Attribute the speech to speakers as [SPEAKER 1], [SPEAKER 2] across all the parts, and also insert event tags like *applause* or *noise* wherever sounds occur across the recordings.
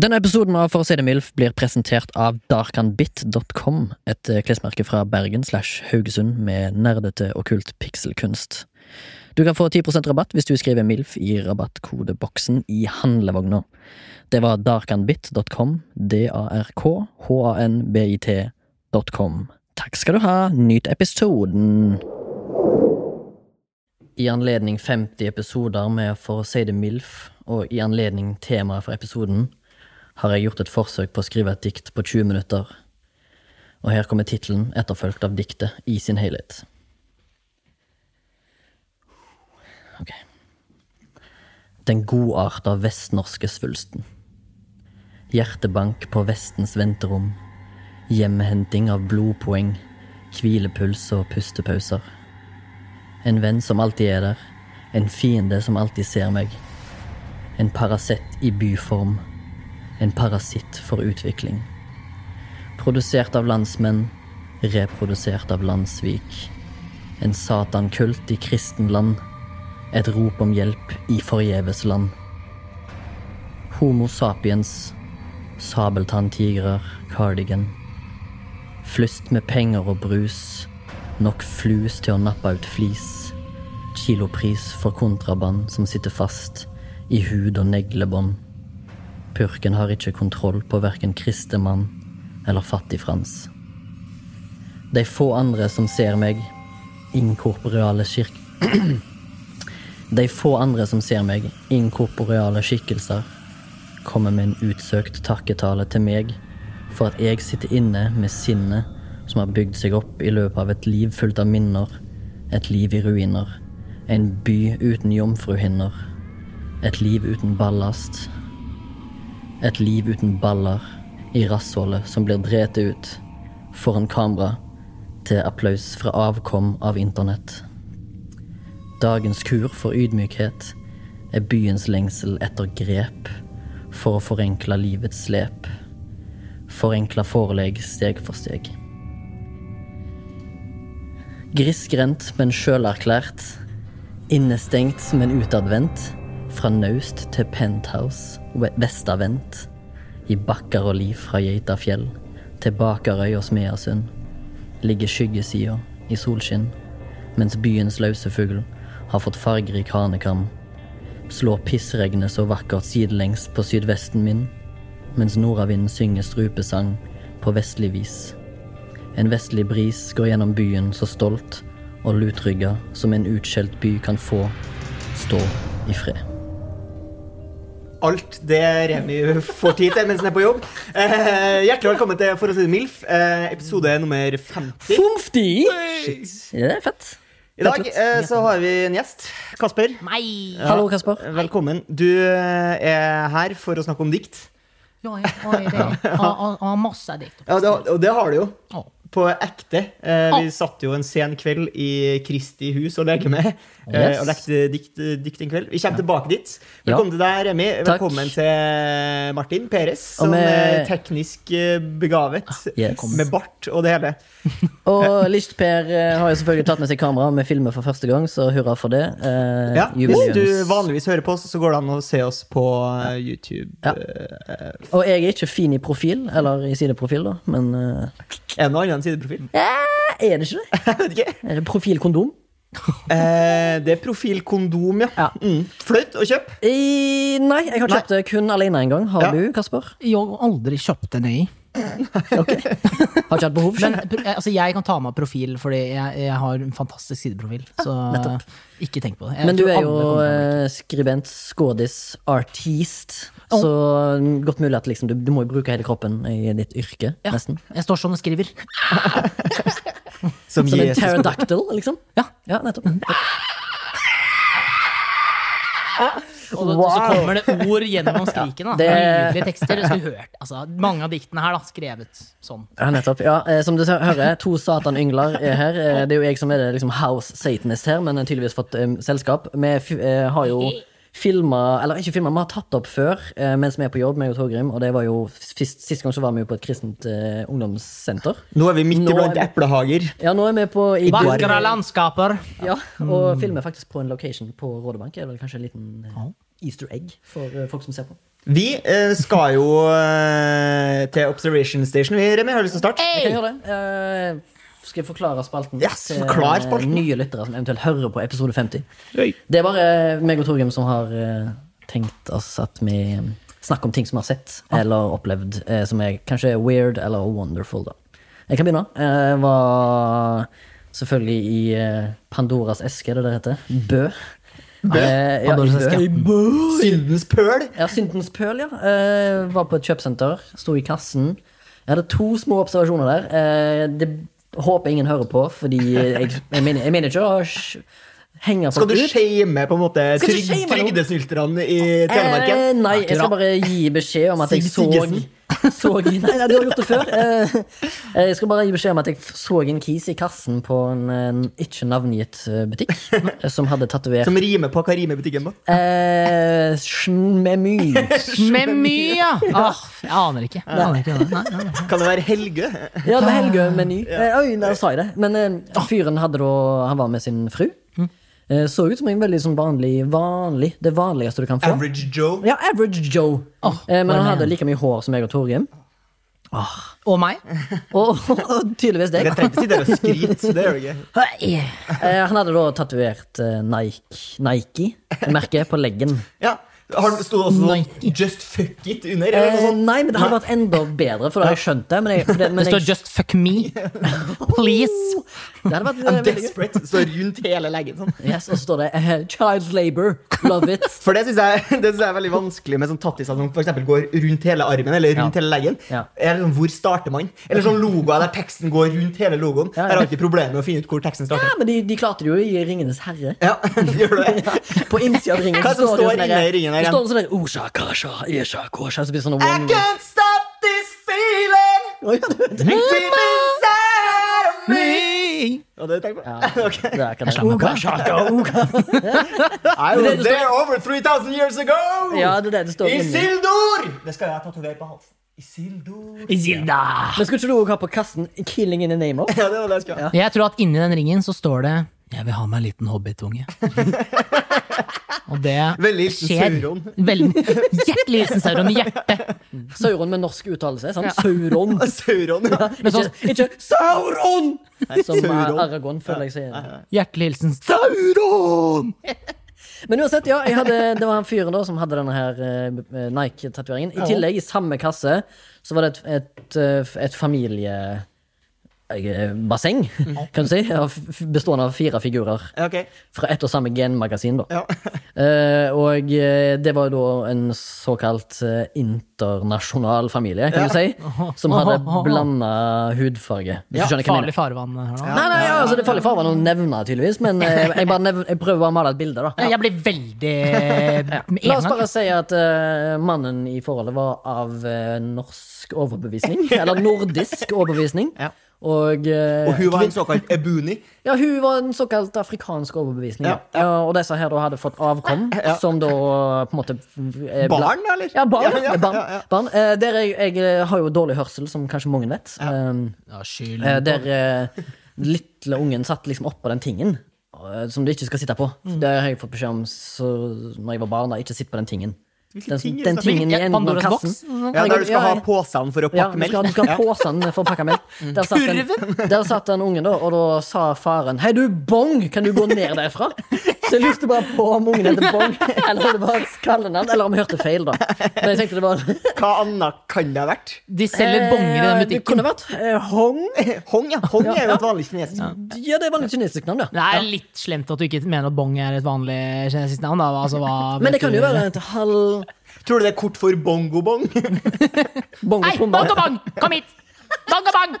[SPEAKER 1] Denne episoden av For å si det mildt blir presentert av darkanbit.com, et eh, klesmerke fra Bergen slash Haugesund med nerdete okkult pikselkunst. Du kan få 10 rabatt hvis du skriver MILF i rabattkodeboksen i handlevogna. Det var darkanbit.com, d-a-r-k-h-a-n-b-i-t.com. Takk skal du ha, nyt episoden! i anledning 50 episoder med For å si det MILF, og i anledning temaet for episoden, har jeg gjort et forsøk på å skrive et dikt på 20 minutter. Og her kommer tittelen, etterfulgt av diktet, i sin helhet. Ok. Den godarta vestnorske svulsten. Hjertebank på vestens venterom. Hjemhenting av blodpoeng. Hvilepuls og pustepauser. En venn som alltid er der. En fiende som alltid ser meg. En parasett i byform. En parasitt for utvikling. Produsert av landsmenn. Reprodusert av landsvik. En satankult i kristenland. Et rop om hjelp i forgjeves land. Homo sapiens. Sabeltanntigrer. Cardigan. Flust med penger og brus. Nok flus til å nappe ut flis. Kilopris for kontraband som sitter fast i hud og neglebånd. Purken har ikke kontroll på verken kristemann eller fattig-Frans. De få andre som ser meg, inkorporeale kirk... *clears throat* De få andre som ser meg, inkorporeale skikkelser, kommer med en utsøkt takketale til meg for at jeg sitter inne med sinnet som har bygd seg opp i løpet av et liv fullt av minner, et liv i ruiner, en by uten jomfruhinner, et liv uten ballast, et liv uten baller i rassholdet som blir drevet ut foran kamera til applaus fra avkom av internett. Dagens kur for ydmykhet er byens lengsel etter grep for å forenkle livets slep. Forenkle forelegg steg for steg. Grisgrendt, men sjølerklært. Innestengt, men utadvendt. Fra naust til penthouse, ve- vestavendt. I bakker og liv fra Geitafjell til Bakerøy og Smeasund. Ligger skyggesida i solskinn, mens byens løsefugl har fått fargerik hanekam. Slår pissregnet så vakkert sidelengs på sydvesten min, mens nordavinden synger strupesang på vestlig vis. En vestlig bris går gjennom byen så stolt og lutrygga som en utskjelt by kan få stå i fred.
[SPEAKER 2] alt det Remi får tid til mens han er på jobb. Eh, hjertelig velkommen til For å si det MILF, eh, episode nummer 50.
[SPEAKER 1] Fomfti!
[SPEAKER 2] Shit.
[SPEAKER 1] Ja, det er fett.
[SPEAKER 2] I dag eh, så har vi en gjest. Kasper,
[SPEAKER 3] Nei!
[SPEAKER 1] Hallo, Kasper.
[SPEAKER 2] velkommen. Du eh, er her for å snakke om dikt.
[SPEAKER 3] Jag är, jag är det. Ja, ja, ja, massa dikt.
[SPEAKER 2] Ja, det, og det har du jo.
[SPEAKER 3] Ja.
[SPEAKER 2] På ekte. Eh,
[SPEAKER 3] Ja.
[SPEAKER 2] vi satt jo en sen kveld i Kristi hus og leke med. Eh,
[SPEAKER 1] Yes.
[SPEAKER 2] og lekte dikt, dikt en kveld. Vi kommer tilbake dit.
[SPEAKER 1] Ja.
[SPEAKER 2] Velkommen til deg, Remi.
[SPEAKER 1] Takk.
[SPEAKER 2] Velkommen til eh, Martin Peres, som
[SPEAKER 1] med-
[SPEAKER 2] er teknisk eh, begavet.
[SPEAKER 1] Yes.
[SPEAKER 2] Med bart og det hele.
[SPEAKER 1] Og Licht-Per eh, har jo selvfølgelig tatt med seg kamera med filmer for første gang, så hurra for det. Eh,
[SPEAKER 2] Ja, hvis
[SPEAKER 1] jubileums-
[SPEAKER 2] du vanligvis hører på oss, så går det an å se oss på eh, YouTube.
[SPEAKER 1] Ja.
[SPEAKER 2] Eh,
[SPEAKER 1] Og jeg er ikke fin i profil, eller i sideprofil, da, men eh,
[SPEAKER 2] Er det noe annet enn sideprofil?
[SPEAKER 1] Er det ikke det?
[SPEAKER 2] Jeg vet ikke.
[SPEAKER 1] Er det profilkondom?
[SPEAKER 2] Eh, det er profilkondom, ja.
[SPEAKER 1] Ja.
[SPEAKER 2] Mm. Flaut å kjøpe.
[SPEAKER 1] I, nei, jeg har kjøpt det kun alene en gang. Har
[SPEAKER 2] Ja.
[SPEAKER 1] du, Kasper?
[SPEAKER 3] Jag har aldrig köpt en ny.
[SPEAKER 1] Har ikke hatt behov?
[SPEAKER 3] Men
[SPEAKER 1] skjønner.
[SPEAKER 3] eh, altså, jeg kan ta meg av profil, fordi jeg, jeg har en fantastisk sideprofil. Så ikke tenk på det. Jeg
[SPEAKER 1] Men du
[SPEAKER 3] tror
[SPEAKER 1] er
[SPEAKER 3] alle
[SPEAKER 1] jo
[SPEAKER 3] kommer til å like
[SPEAKER 1] eh, skribent, skådis, artist.
[SPEAKER 3] Ja.
[SPEAKER 1] Så mm, godt mulig at liksom, du, du må jo bruke hele kroppen i ditt yrke,
[SPEAKER 3] det.
[SPEAKER 1] nesten.
[SPEAKER 3] ja, jeg står som en skriver.
[SPEAKER 2] Som
[SPEAKER 1] Som en
[SPEAKER 2] Jesus.
[SPEAKER 1] pterodactyl, liksom.
[SPEAKER 3] Ja.
[SPEAKER 1] Ja, Mm. nettopp.
[SPEAKER 3] Og da- så kommer det
[SPEAKER 1] *laughs*
[SPEAKER 3] ord gjennom skriken. Da.
[SPEAKER 1] det-
[SPEAKER 3] Nydelige tekster. Du skulle hørt. Altså, mange av diktene her da, skrevet sånn.
[SPEAKER 1] Ja, nettopp. Ja, eh, som du ser- hører, to satanyngler er her. Eh, Det er jo jeg som er det, liksom house satanist her, men jeg har tydeligvis fått eh, selskap. Vi f- eh, har jo filma, eller ikke filma, vi har tatt opp før eh, mens vi er på jobb, meg og Torgrim. Og det var jo sist, sist gang så var vi jo på et kristent eh, ungdomssenter.
[SPEAKER 2] Nå er vi midt
[SPEAKER 1] Nå er
[SPEAKER 2] iblant
[SPEAKER 1] vi-
[SPEAKER 2] eplehager.
[SPEAKER 1] Ja, nå er vi på i
[SPEAKER 3] Vakre landskaper.
[SPEAKER 1] Ja, og filmer faktisk på en location på Rådebank. Er vel kanskje en liten eh, easter egg for eh, folk som ser på.
[SPEAKER 2] Vi eh, skal jo eh, til Observation Station. Vi, Remi, har du lyst til å starte?
[SPEAKER 1] Jeg kan gjøre det. Eh, skal jeg forklare spalten
[SPEAKER 2] Yes, forklar spalten.
[SPEAKER 1] nye lyttere som eventuelt hører på episode 50?
[SPEAKER 4] Oi.
[SPEAKER 1] Det er bare meg og Torgrim som har eh, tenkt oss at vi eh, snakker om ting som vi har sett eller opplevd, eh, som er kanskje weird eller wonderful. da. Jeg kan begynne. Eh, Jeg var selvfølgelig i eh, Pandoras eske, er det det heter. Bø. Bø? Ja,
[SPEAKER 3] Pandoras
[SPEAKER 1] i Bø.
[SPEAKER 3] eske.
[SPEAKER 2] Syndens pøl.
[SPEAKER 1] Ja, Syndens pøl, ja. Eh, var på et kjøpesenter, sto i kassen. Jeg hadde to små observasjoner der. Eh, det håper ingen hører på, fordi jeg, jeg, mener, jeg mener ikke å sh- henge
[SPEAKER 2] Skal
[SPEAKER 1] folk
[SPEAKER 2] du
[SPEAKER 1] ut.
[SPEAKER 2] shame på en måte
[SPEAKER 1] Skal du
[SPEAKER 2] trygg,
[SPEAKER 1] shame noen?
[SPEAKER 2] trygdesnylterne i Telemark?
[SPEAKER 1] Eh, nei, jeg skal bare gi beskjed om at jeg
[SPEAKER 2] Sig
[SPEAKER 1] så
[SPEAKER 2] Siggesen.
[SPEAKER 1] så Nei, nei, du har gjort det før. Eh, eh, jeg skal bare gi beskjed om at jeg f- så en kis i kassen på en, en ikke navngitt eh, butikk,
[SPEAKER 2] *laughs*
[SPEAKER 1] eh, som hadde tatovert
[SPEAKER 2] Som rimer på hva rimer butikken på?
[SPEAKER 1] eh, Smemy.
[SPEAKER 3] Med mye, ja!
[SPEAKER 1] *laughs*
[SPEAKER 3] Ah, jeg aner ikke. Jeg aner ikke det. Nei, nei, nei.
[SPEAKER 2] Kan det være Helge?
[SPEAKER 1] Ja, det var Helgø-meny. Eh, Oi, der sa jeg det. Men eh, fyren hadde da Han var med sin fru. Eh, så ut som en veldig sånn vanlig, vanlig Det vanligste du kan få.
[SPEAKER 2] Average Joe?
[SPEAKER 1] Ja, Average Joe.
[SPEAKER 3] Åh,
[SPEAKER 1] eh, men
[SPEAKER 3] var det
[SPEAKER 1] han hadde
[SPEAKER 3] han?
[SPEAKER 1] like mye hår som meg og Torgrim.
[SPEAKER 3] Og meg.
[SPEAKER 1] Og, *laughs* og, tydeligvis deg.
[SPEAKER 2] Jeg trenger ikke si dere skryt. Det gjør du ikke.
[SPEAKER 1] Hei. Eh, han hadde da tatovert eh, Nike, Nike-merket på leggen.
[SPEAKER 2] Ja. Har det stod også
[SPEAKER 3] Nike.
[SPEAKER 2] sånn Just fuck it under? Eller
[SPEAKER 1] *laughs*
[SPEAKER 2] noe
[SPEAKER 1] Eh,
[SPEAKER 2] sånt.
[SPEAKER 1] nei, men det hadde vært enda bedre, for da har jeg skjønt det. Men jeg, for det, men
[SPEAKER 3] Det står
[SPEAKER 1] jeg,
[SPEAKER 3] 'just fuck
[SPEAKER 1] *laughs*
[SPEAKER 3] me'. Please.
[SPEAKER 1] det hadde vært eh,
[SPEAKER 2] I'm
[SPEAKER 1] veldig gøy.
[SPEAKER 2] desperate. Står rundt hele leggen sånn.
[SPEAKER 1] Yes, og så står det eh, 'Child labor, love it'.
[SPEAKER 2] *laughs* For det syns jeg, det synes jeg er veldig vanskelig med sånn tattiser som for eksempel går rundt hele armen eller
[SPEAKER 1] Ja.
[SPEAKER 2] rundt hele leggen.
[SPEAKER 1] Ja.
[SPEAKER 2] Eller sånn, hvor starter man? Eller sånn logoer der teksten går rundt hele logoen.
[SPEAKER 1] Ja, ja.
[SPEAKER 2] Jeg har alltid problemer med å finne ut hvor teksten
[SPEAKER 1] Ja,
[SPEAKER 2] starter.
[SPEAKER 1] men de, de klarte det jo i 'Ringenes herre'.
[SPEAKER 2] Ja, *laughs* gjør du det?
[SPEAKER 1] På innsida av ringen
[SPEAKER 2] Hva
[SPEAKER 1] så det
[SPEAKER 2] som
[SPEAKER 1] jo
[SPEAKER 2] står
[SPEAKER 1] sånn
[SPEAKER 2] inne
[SPEAKER 1] der-
[SPEAKER 2] i ringen her
[SPEAKER 1] Det
[SPEAKER 2] igjen?
[SPEAKER 1] står sånn der Osha, kasha, esha, kosha Så blir det sånn
[SPEAKER 2] I
[SPEAKER 1] one
[SPEAKER 2] can't stop this feeling
[SPEAKER 1] Oi, ja, du-
[SPEAKER 2] deep inside of me. Var det du tenkte på?
[SPEAKER 1] Ja,
[SPEAKER 2] *laughs* Ok.
[SPEAKER 1] det er akkurat det.
[SPEAKER 3] skjønner
[SPEAKER 1] Oga,
[SPEAKER 3] det.
[SPEAKER 1] shaka,
[SPEAKER 2] oh.
[SPEAKER 1] oga.
[SPEAKER 2] *laughs* I
[SPEAKER 1] det
[SPEAKER 2] was
[SPEAKER 1] du står-
[SPEAKER 2] there over 3000 years ago!
[SPEAKER 1] Ja, det er det det står inni.
[SPEAKER 2] Isildur! Det skal jeg tatovere på halsen. Isildur.
[SPEAKER 3] Isilda.
[SPEAKER 1] Men skulle ikke du også ha på kassen 'Killing in a name of'?
[SPEAKER 2] Ja, det var det jeg skulle ha.
[SPEAKER 3] Jeg tror at inni den ringen så står det 'Jeg vil ha meg en liten
[SPEAKER 1] *laughs*
[SPEAKER 3] hobbitunge'. Og det
[SPEAKER 2] Veldig
[SPEAKER 3] skjer.
[SPEAKER 2] Sauron.
[SPEAKER 3] Veldig Hjertelig hilsen Sauron i hjertet.
[SPEAKER 1] Sauron med norsk uttalelse. Sant? Sauron.
[SPEAKER 2] *laughs* Sauron, ja.
[SPEAKER 3] Men sånn,
[SPEAKER 1] Ikke, ikke Sauron! Som eh,
[SPEAKER 2] Sauron.
[SPEAKER 1] Aragon, føler jeg sier.
[SPEAKER 3] hjertelig hilsen Sauron!
[SPEAKER 1] Men uansett, ja. Jeg hadde, det var han fyren da som hadde denne her eh, Nike-tatoveringen. I tillegg, i samme kasse, så var det et, et, eh, et familie... eh, Basseng, kan du si. av- Bestående av fire figurer.
[SPEAKER 2] Ja, Ok.
[SPEAKER 1] fra ett og samme genmagasin, da.
[SPEAKER 2] Ja.
[SPEAKER 1] Eh, og eh, det var jo da en såkalt eh, internasjonal familie, kan du si, som hadde blanda hudfarge. Hvis
[SPEAKER 3] Ja,
[SPEAKER 1] du skjønner hva jeg mener.
[SPEAKER 3] farlig farvann her nå.
[SPEAKER 1] Nei, nei, ja, altså, det er farlig farvann å nevne, tydeligvis, men eh, jeg, bare nev jeg prøver bare å male et bilde, da.
[SPEAKER 3] Jeg blir veldig med
[SPEAKER 1] La
[SPEAKER 3] en
[SPEAKER 1] oss
[SPEAKER 3] gang.
[SPEAKER 1] bare si at eh, mannen i forholdet var av eh, norsk overbevisning. Eller nordisk overbevisning.
[SPEAKER 2] Ja.
[SPEAKER 1] Og, eh,
[SPEAKER 2] Og hun var en såkalt ebuni.
[SPEAKER 1] Ja, hun var en såkalt afrikansk overbevisning. Ja. Ja. og disse her da hadde fått avkom,
[SPEAKER 2] *laughs*
[SPEAKER 1] som da på en måte eh, bla-
[SPEAKER 2] Barn, eller?
[SPEAKER 1] Ja, barn.
[SPEAKER 2] Ja, ja,
[SPEAKER 1] barn,
[SPEAKER 2] ja, ja.
[SPEAKER 1] barn. Eh, der jeg, jeg har jo dårlig hørsel, som kanskje mange vet. Um,
[SPEAKER 3] Ja, skyld.
[SPEAKER 2] Mm.
[SPEAKER 1] eh, der eh, lille ungen satt liksom oppå den tingen eh, som du ikke skal sitte på.
[SPEAKER 2] Mm.
[SPEAKER 1] Det har jeg fått beskjed om så, når jeg var barn. Da. Ikke sitt på den tingen.
[SPEAKER 2] Hvilken
[SPEAKER 1] Den,
[SPEAKER 2] ting er det
[SPEAKER 1] den
[SPEAKER 2] som-
[SPEAKER 1] tingen i
[SPEAKER 3] Ja,
[SPEAKER 1] enden av
[SPEAKER 3] Pandoras boks.
[SPEAKER 1] kassen.
[SPEAKER 2] Ja, der du skal ha posene for
[SPEAKER 1] Ja,
[SPEAKER 2] å pakke
[SPEAKER 1] du
[SPEAKER 2] melk.
[SPEAKER 1] skal, du skal ha posen for å pakke melk. Der satt, den, *laughs* der satt den ungen, da, og da sa faren 'Hei, du Bong, kan du gå ned derfra?' Så jeg lurte bare på om ungen heter
[SPEAKER 3] *laughs*
[SPEAKER 1] Bong, eller om det var hans kallenavn, eller om jeg hørte feil, da. Men jeg tenkte det var
[SPEAKER 2] Hva annet kan det ha vært? *laughs*
[SPEAKER 3] De selger bonger i
[SPEAKER 1] Eh,
[SPEAKER 3] den
[SPEAKER 1] Det kunne
[SPEAKER 3] butikken.
[SPEAKER 1] vært eh, Hong.
[SPEAKER 2] Hong, ja. Hong er jo et vanlig kinesisk navn.
[SPEAKER 1] Ja, det var et kinesisk navn,
[SPEAKER 3] Det
[SPEAKER 1] ja.
[SPEAKER 3] er litt slemt at du ikke mener at bong er et vanlig kinesisk navn. Da. Altså, hva,
[SPEAKER 1] Men det kan jo være et halv
[SPEAKER 2] Tror du det er kort for bongobong? *laughs*
[SPEAKER 1] Bong
[SPEAKER 3] Hei,
[SPEAKER 1] og Pumba.
[SPEAKER 3] bongabong! Kom hit! Bongabong!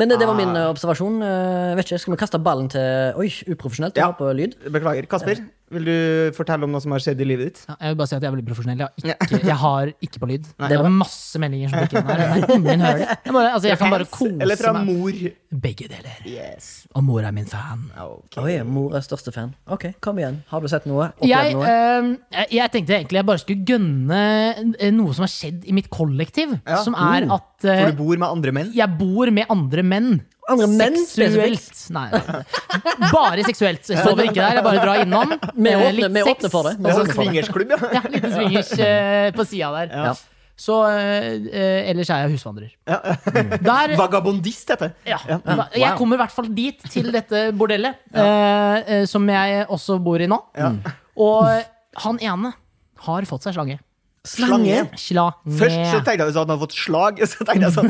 [SPEAKER 1] Men det, det var min eh, observasjon. Eh, Vet ikke, Skal vi kaste ballen til Oi, uprofesjonelt.
[SPEAKER 2] Ja.
[SPEAKER 1] Ja. På lyd.
[SPEAKER 2] Beklager. Kasper, vil du fortelle om noe som har skjedd i livet ditt?
[SPEAKER 3] Ja, jeg vil bare si at jeg er veldig profesjonell. Jeg har ikke, jeg har ikke på lyd. Det
[SPEAKER 1] bra.
[SPEAKER 3] er masse meldinger som dukker inn her. men Ingen hører det. Jeg, bare, altså, jeg kan bare
[SPEAKER 2] Eller fra
[SPEAKER 3] kose meg.
[SPEAKER 2] mor?
[SPEAKER 3] Begge deler.
[SPEAKER 2] Yes.
[SPEAKER 3] Og mor er min fan.
[SPEAKER 2] Ok.
[SPEAKER 1] Oi, mor er største fan. Ok, Kom igjen. Har du sett noe? Opplevd
[SPEAKER 3] Jeg,
[SPEAKER 1] noe?
[SPEAKER 3] eh, jeg- jeg tenkte egentlig jeg bare skulle gønne eh, noe som har
[SPEAKER 1] Oh.
[SPEAKER 3] skjedd i mitt kollektiv. Som er at eh,
[SPEAKER 2] For du bor med andre menn?
[SPEAKER 3] jeg bor med andre menn.
[SPEAKER 1] andre menn spesifikt.
[SPEAKER 3] Seksuelt. Nei. Bare seksuelt. Jeg sover ikke der, jeg bare drar innom.
[SPEAKER 1] Vi
[SPEAKER 3] Eh,
[SPEAKER 1] åpner-
[SPEAKER 3] litt
[SPEAKER 1] vi
[SPEAKER 3] sex.
[SPEAKER 1] åpner for det. Vi
[SPEAKER 2] Det er
[SPEAKER 1] åpner
[SPEAKER 2] sånn
[SPEAKER 1] for det. *laughs*
[SPEAKER 2] swingersklubb, ja.
[SPEAKER 3] Ja, liten swingers eh, på sida der.
[SPEAKER 1] Ja.
[SPEAKER 3] Så eh, eh, ellers er jeg husvandrer. *laughs* Der
[SPEAKER 2] Vagabondist, heter det.
[SPEAKER 3] ja. da- Jeg kommer i hvert fall dit, til dette bordellet, eh, eh, som jeg også bor i nå. Og han ene har fått seg slange.
[SPEAKER 1] Slange.
[SPEAKER 3] Slange.
[SPEAKER 2] Først så tenkte jeg du sa at han hadde fått slag. *laughs* Så tenkte jeg sånn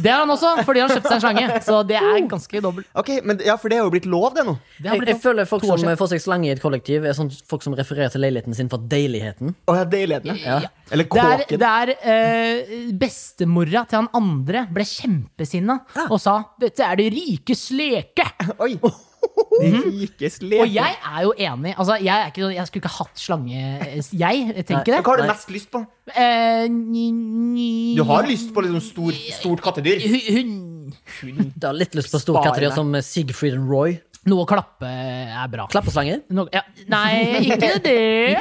[SPEAKER 3] Det har han også, fordi han kjøpte seg en slange. Så det er ganske dobbelt.
[SPEAKER 2] Ok, men ja, For det er jo blitt lov, det nå.
[SPEAKER 3] Det
[SPEAKER 1] Jeg,
[SPEAKER 3] har
[SPEAKER 1] jeg
[SPEAKER 3] blitt sånn
[SPEAKER 1] føler folk
[SPEAKER 3] to år
[SPEAKER 1] som
[SPEAKER 3] siden.
[SPEAKER 1] får seg slange i et kollektiv, er sånn folk som refererer til leiligheten sin for deiligheten.
[SPEAKER 2] Å ja, deiligheten. Ja.
[SPEAKER 1] Ja.
[SPEAKER 2] Eller
[SPEAKER 3] Det er,
[SPEAKER 2] kåken.
[SPEAKER 3] det er eh, bestemora til han andre ble kjempesinna og sa 'Dette er det rikes leke'.
[SPEAKER 2] *laughs*
[SPEAKER 3] *laughs*
[SPEAKER 2] Oi! Rikes leke.
[SPEAKER 3] Og jeg er jo enig. Altså, jeg, er ikke, sånn- jeg skulle ikke hatt slange, jeg. Jeg tenker
[SPEAKER 2] Hva
[SPEAKER 3] det.
[SPEAKER 2] har du
[SPEAKER 1] Nei.
[SPEAKER 2] mest lyst på?
[SPEAKER 3] Eh, ni- ni-
[SPEAKER 2] Du har lyst på liksom stor, stort kattedyr?
[SPEAKER 3] Hu- Hund.
[SPEAKER 1] Du har litt lyst på stor
[SPEAKER 2] Spar
[SPEAKER 1] kattedyr
[SPEAKER 2] meg.
[SPEAKER 1] som Sigfried and Roy.
[SPEAKER 3] Noe å klappe er bra.
[SPEAKER 1] Klappeslanger.
[SPEAKER 3] No, ja. Nei,
[SPEAKER 2] *laughs*
[SPEAKER 3] ikke det.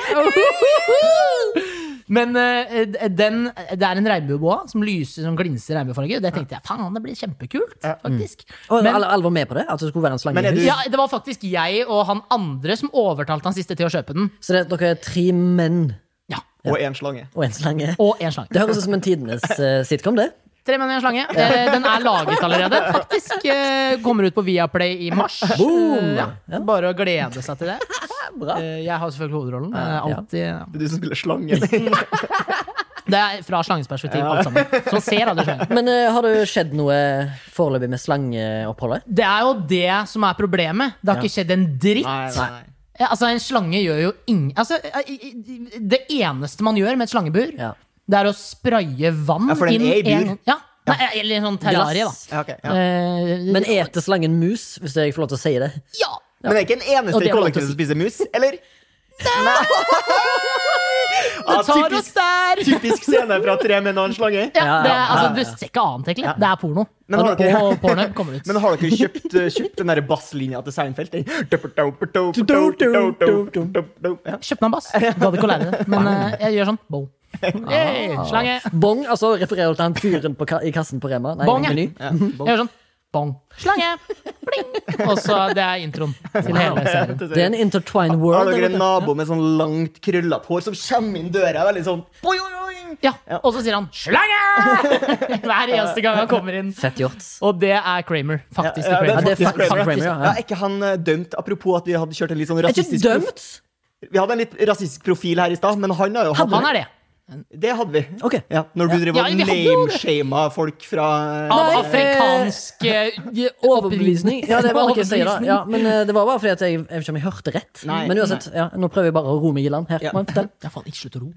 [SPEAKER 3] Men eh, den, det er en regnbueboa som lyser som glinser regnbuefarge. Det tenkte jeg faen, det blir kjempekult,
[SPEAKER 2] Mm.
[SPEAKER 3] faktisk.
[SPEAKER 1] Og
[SPEAKER 3] Men-
[SPEAKER 1] alle, alle var med på det? At det skulle være en slange
[SPEAKER 2] Men er
[SPEAKER 1] i
[SPEAKER 2] du-
[SPEAKER 1] hus?
[SPEAKER 3] ja, det var faktisk jeg og han andre som overtalte han siste til å kjøpe den.
[SPEAKER 1] Så det, dere er tre menn
[SPEAKER 3] Ja,
[SPEAKER 2] Og én slange.
[SPEAKER 1] og en slange.
[SPEAKER 3] Og en slange.
[SPEAKER 1] Det høres ut som en tidenes eh, sitcom, det.
[SPEAKER 3] Tre menn og en slange. Eh, den er laget allerede. Faktisk eh, kommer ut på Viaplay i mars.
[SPEAKER 1] Boom!
[SPEAKER 3] Eh, ja. Bare å glede seg til det.
[SPEAKER 1] Bra.
[SPEAKER 3] Eh, jeg har selvfølgelig hovedrollen. Men jeg er alltid,
[SPEAKER 2] Det er du som spiller slange.
[SPEAKER 3] Det er fra slangens perspektiv, alt sammen. Så man ser alle slangen.
[SPEAKER 1] Men eh, har det skjedd noe foreløpig med slangeoppholdet?
[SPEAKER 3] Det er jo det som er problemet. Det har ikke skjedd en dritt.
[SPEAKER 2] Nei, nei.
[SPEAKER 3] Eh, Altså, en slange gjør jo ingen altså, eh, i- i- Det eneste man gjør med et slangebur,
[SPEAKER 1] Ja.
[SPEAKER 3] det er å spraye vann
[SPEAKER 2] Ja, for den
[SPEAKER 3] inn
[SPEAKER 2] er i bur.
[SPEAKER 3] en- Ja. Nei, eller en sånn terrarie, da.
[SPEAKER 1] Glass.
[SPEAKER 2] Ja, ok, ja.
[SPEAKER 3] Eh,
[SPEAKER 1] Men eter slangen mus, hvis jeg får lov til å si det?
[SPEAKER 3] ja.
[SPEAKER 2] Men det er ikke en
[SPEAKER 3] Og
[SPEAKER 2] eneste
[SPEAKER 3] det
[SPEAKER 2] i
[SPEAKER 3] er lov til å
[SPEAKER 2] kollektivet som spiser mus, eller? Nei! Ja,
[SPEAKER 3] *laughs* Det tar oss
[SPEAKER 2] typisk,
[SPEAKER 3] der!
[SPEAKER 2] typisk scene fra Tre menn og en slange.
[SPEAKER 3] Ja,
[SPEAKER 1] Ja, ja,
[SPEAKER 3] det er,
[SPEAKER 1] ja,
[SPEAKER 3] altså, du ser ikke annet, egentlig. Det er porno.
[SPEAKER 2] Men
[SPEAKER 3] Og
[SPEAKER 2] har dere-
[SPEAKER 3] på Pornhub kommer det
[SPEAKER 2] *laughs*
[SPEAKER 3] ut.
[SPEAKER 2] Men har dere kjøpt, eh, kjøpt den der basslinja til Seinfeld? Den? Ja.
[SPEAKER 3] Kjøpte meg en bass. Gadd ikke å lære det. Men eh, jeg gjør sånn.
[SPEAKER 2] *laughs*
[SPEAKER 3] Bow. Hey, slange.
[SPEAKER 1] Bong, altså refererer til han fyren på ka i kassen på Rema. Nei,
[SPEAKER 3] Bong, ja.
[SPEAKER 1] Meny.
[SPEAKER 3] Jeg gjør sånn. Bong. *laughs* Slange. Bling. Og så det er introen til hele serien.
[SPEAKER 1] Det er en intertwined
[SPEAKER 2] Har
[SPEAKER 1] world.
[SPEAKER 2] dere
[SPEAKER 1] eller
[SPEAKER 2] en
[SPEAKER 1] noe?
[SPEAKER 2] nabo med sånn langt, krøllete hår som kommer inn døra? Veldig sånn boing, boing?
[SPEAKER 3] Ja, Og så sier han 'slange' *laughs* hver eneste gang han kommer inn.
[SPEAKER 1] Fett gjort.
[SPEAKER 3] Og det er Kramer. Faktisk.
[SPEAKER 2] Ja,
[SPEAKER 3] Kramer.
[SPEAKER 1] det er
[SPEAKER 2] faktisk
[SPEAKER 1] fuck- fuck
[SPEAKER 2] Kramer.
[SPEAKER 1] Kramer, ja.
[SPEAKER 2] Ja, er ikke han eh, dømt? Apropos at vi hadde kjørt en litt sånn
[SPEAKER 1] Er ikke
[SPEAKER 2] rasistisk
[SPEAKER 1] dømt?
[SPEAKER 2] Vi hadde en litt rasistisk profil her i stad, men han har jo hatt
[SPEAKER 3] Han er det.
[SPEAKER 2] Det hadde vi.
[SPEAKER 1] Ok.
[SPEAKER 2] Ja, når du drev
[SPEAKER 3] Ja,
[SPEAKER 2] og
[SPEAKER 3] vi hadde jo det.
[SPEAKER 2] nameshama folk fra
[SPEAKER 3] Av
[SPEAKER 1] Nei,
[SPEAKER 3] afrikansk eh,
[SPEAKER 1] Overbevisning. Ja, det var ikke jeg sier da.
[SPEAKER 3] overbevisning.
[SPEAKER 1] Ja, men eh, det var bare fordi at jeg, jeg vet ikke om jeg hørte rett.
[SPEAKER 2] Nei.
[SPEAKER 1] men uansett, ja, nå prøver jeg bare å roe meg i land. Her,
[SPEAKER 2] Ja.
[SPEAKER 1] man, fortell.
[SPEAKER 3] Ja, faen, ikke slutt å ro.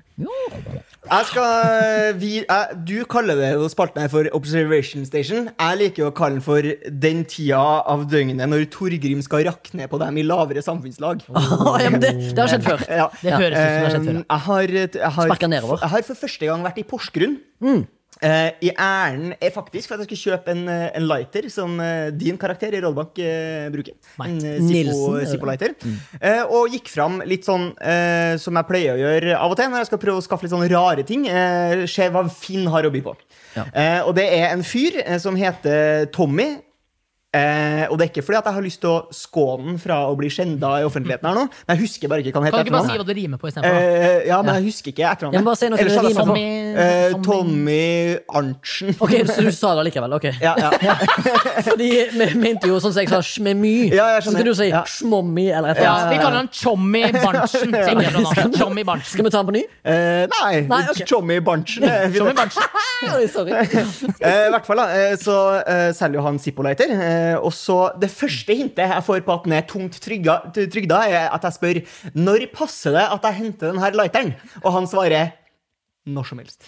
[SPEAKER 2] Jeg skal eh, vi, jeg, Du kaller det jo spalten her for Observation Station. Jeg liker jo å kalle den for den tida av døgnet når Torgrim skal rakne på dem i lavere samfunnslag.
[SPEAKER 1] *laughs* Å, ja, men det, det har skjedd før.
[SPEAKER 2] Ja.
[SPEAKER 3] Det høres ut som det har skjedd før.
[SPEAKER 2] Eh, Jeg har, jeg har,
[SPEAKER 1] Sparka nedover.
[SPEAKER 2] Jeg har for første gang vært i Porsgrunn.
[SPEAKER 3] Mm.
[SPEAKER 2] Eh, I ærend eh, faktisk for at jeg skulle kjøpe en, eh, en lighter som eh, din karakter i Rollbank eh, bruker.
[SPEAKER 3] Nei.
[SPEAKER 2] En eh,
[SPEAKER 1] Nilsen,
[SPEAKER 2] Zippo-
[SPEAKER 1] er det?
[SPEAKER 2] Zippo-lighter.
[SPEAKER 3] Mm.
[SPEAKER 2] Eh, og gikk fram litt sånn eh, som jeg pleier å gjøre av og til når jeg skal prøve å skaffe litt sånn rare ting. Eh, se hva Finn har å by på.
[SPEAKER 1] Ja.
[SPEAKER 2] Eh, og det er en fyr eh, som heter Tommy. Eh, og det er ikke fordi at jeg har lyst til å skåne den fra å bli skjenda i offentligheten her nå. Men jeg husker bare ikke hva han
[SPEAKER 3] Kan du
[SPEAKER 2] heter.
[SPEAKER 3] ikke bare
[SPEAKER 2] etternavn.
[SPEAKER 3] si hva det rimer på istedenfor?
[SPEAKER 2] Eh, ja, men jeg husker ikke etternavnet.
[SPEAKER 1] Ja, men bare si noe
[SPEAKER 2] Ellers
[SPEAKER 1] som det
[SPEAKER 2] hadde jeg
[SPEAKER 3] rimer på.
[SPEAKER 2] sagt, eh,
[SPEAKER 3] Tommy-
[SPEAKER 2] Tommy Arntzen.
[SPEAKER 1] Ok, Så du sa det likevel? ok
[SPEAKER 2] Ja, ja.
[SPEAKER 1] Fordi vi mente jo sånn som jeg sa smemy.
[SPEAKER 2] Ja,
[SPEAKER 1] så
[SPEAKER 2] jeg skjønner.
[SPEAKER 1] skal du si
[SPEAKER 2] Ja.
[SPEAKER 1] smommy eller et
[SPEAKER 3] Ja,
[SPEAKER 1] eller annet.
[SPEAKER 3] vi kaller han Chommy Barntzen. tenker jeg på nå.
[SPEAKER 1] Skal
[SPEAKER 3] Chommy Barntzen.
[SPEAKER 1] vi ta den på ny?
[SPEAKER 2] Eh, nei,
[SPEAKER 1] Nei, ok.
[SPEAKER 2] Tommy Arntzen. eh, vi-
[SPEAKER 3] Chommy Barntzen.
[SPEAKER 1] Oi, Sorry.
[SPEAKER 2] *laughs* Eh, I hvert fall da, eh, så eh, selger jo han Zippo-lighter. Eh, og så det første hintet jeg får på at den er tungt trygga, t- trygda, er at jeg spør når passer det at jeg henter den her lighteren? Og han svarer når som helst.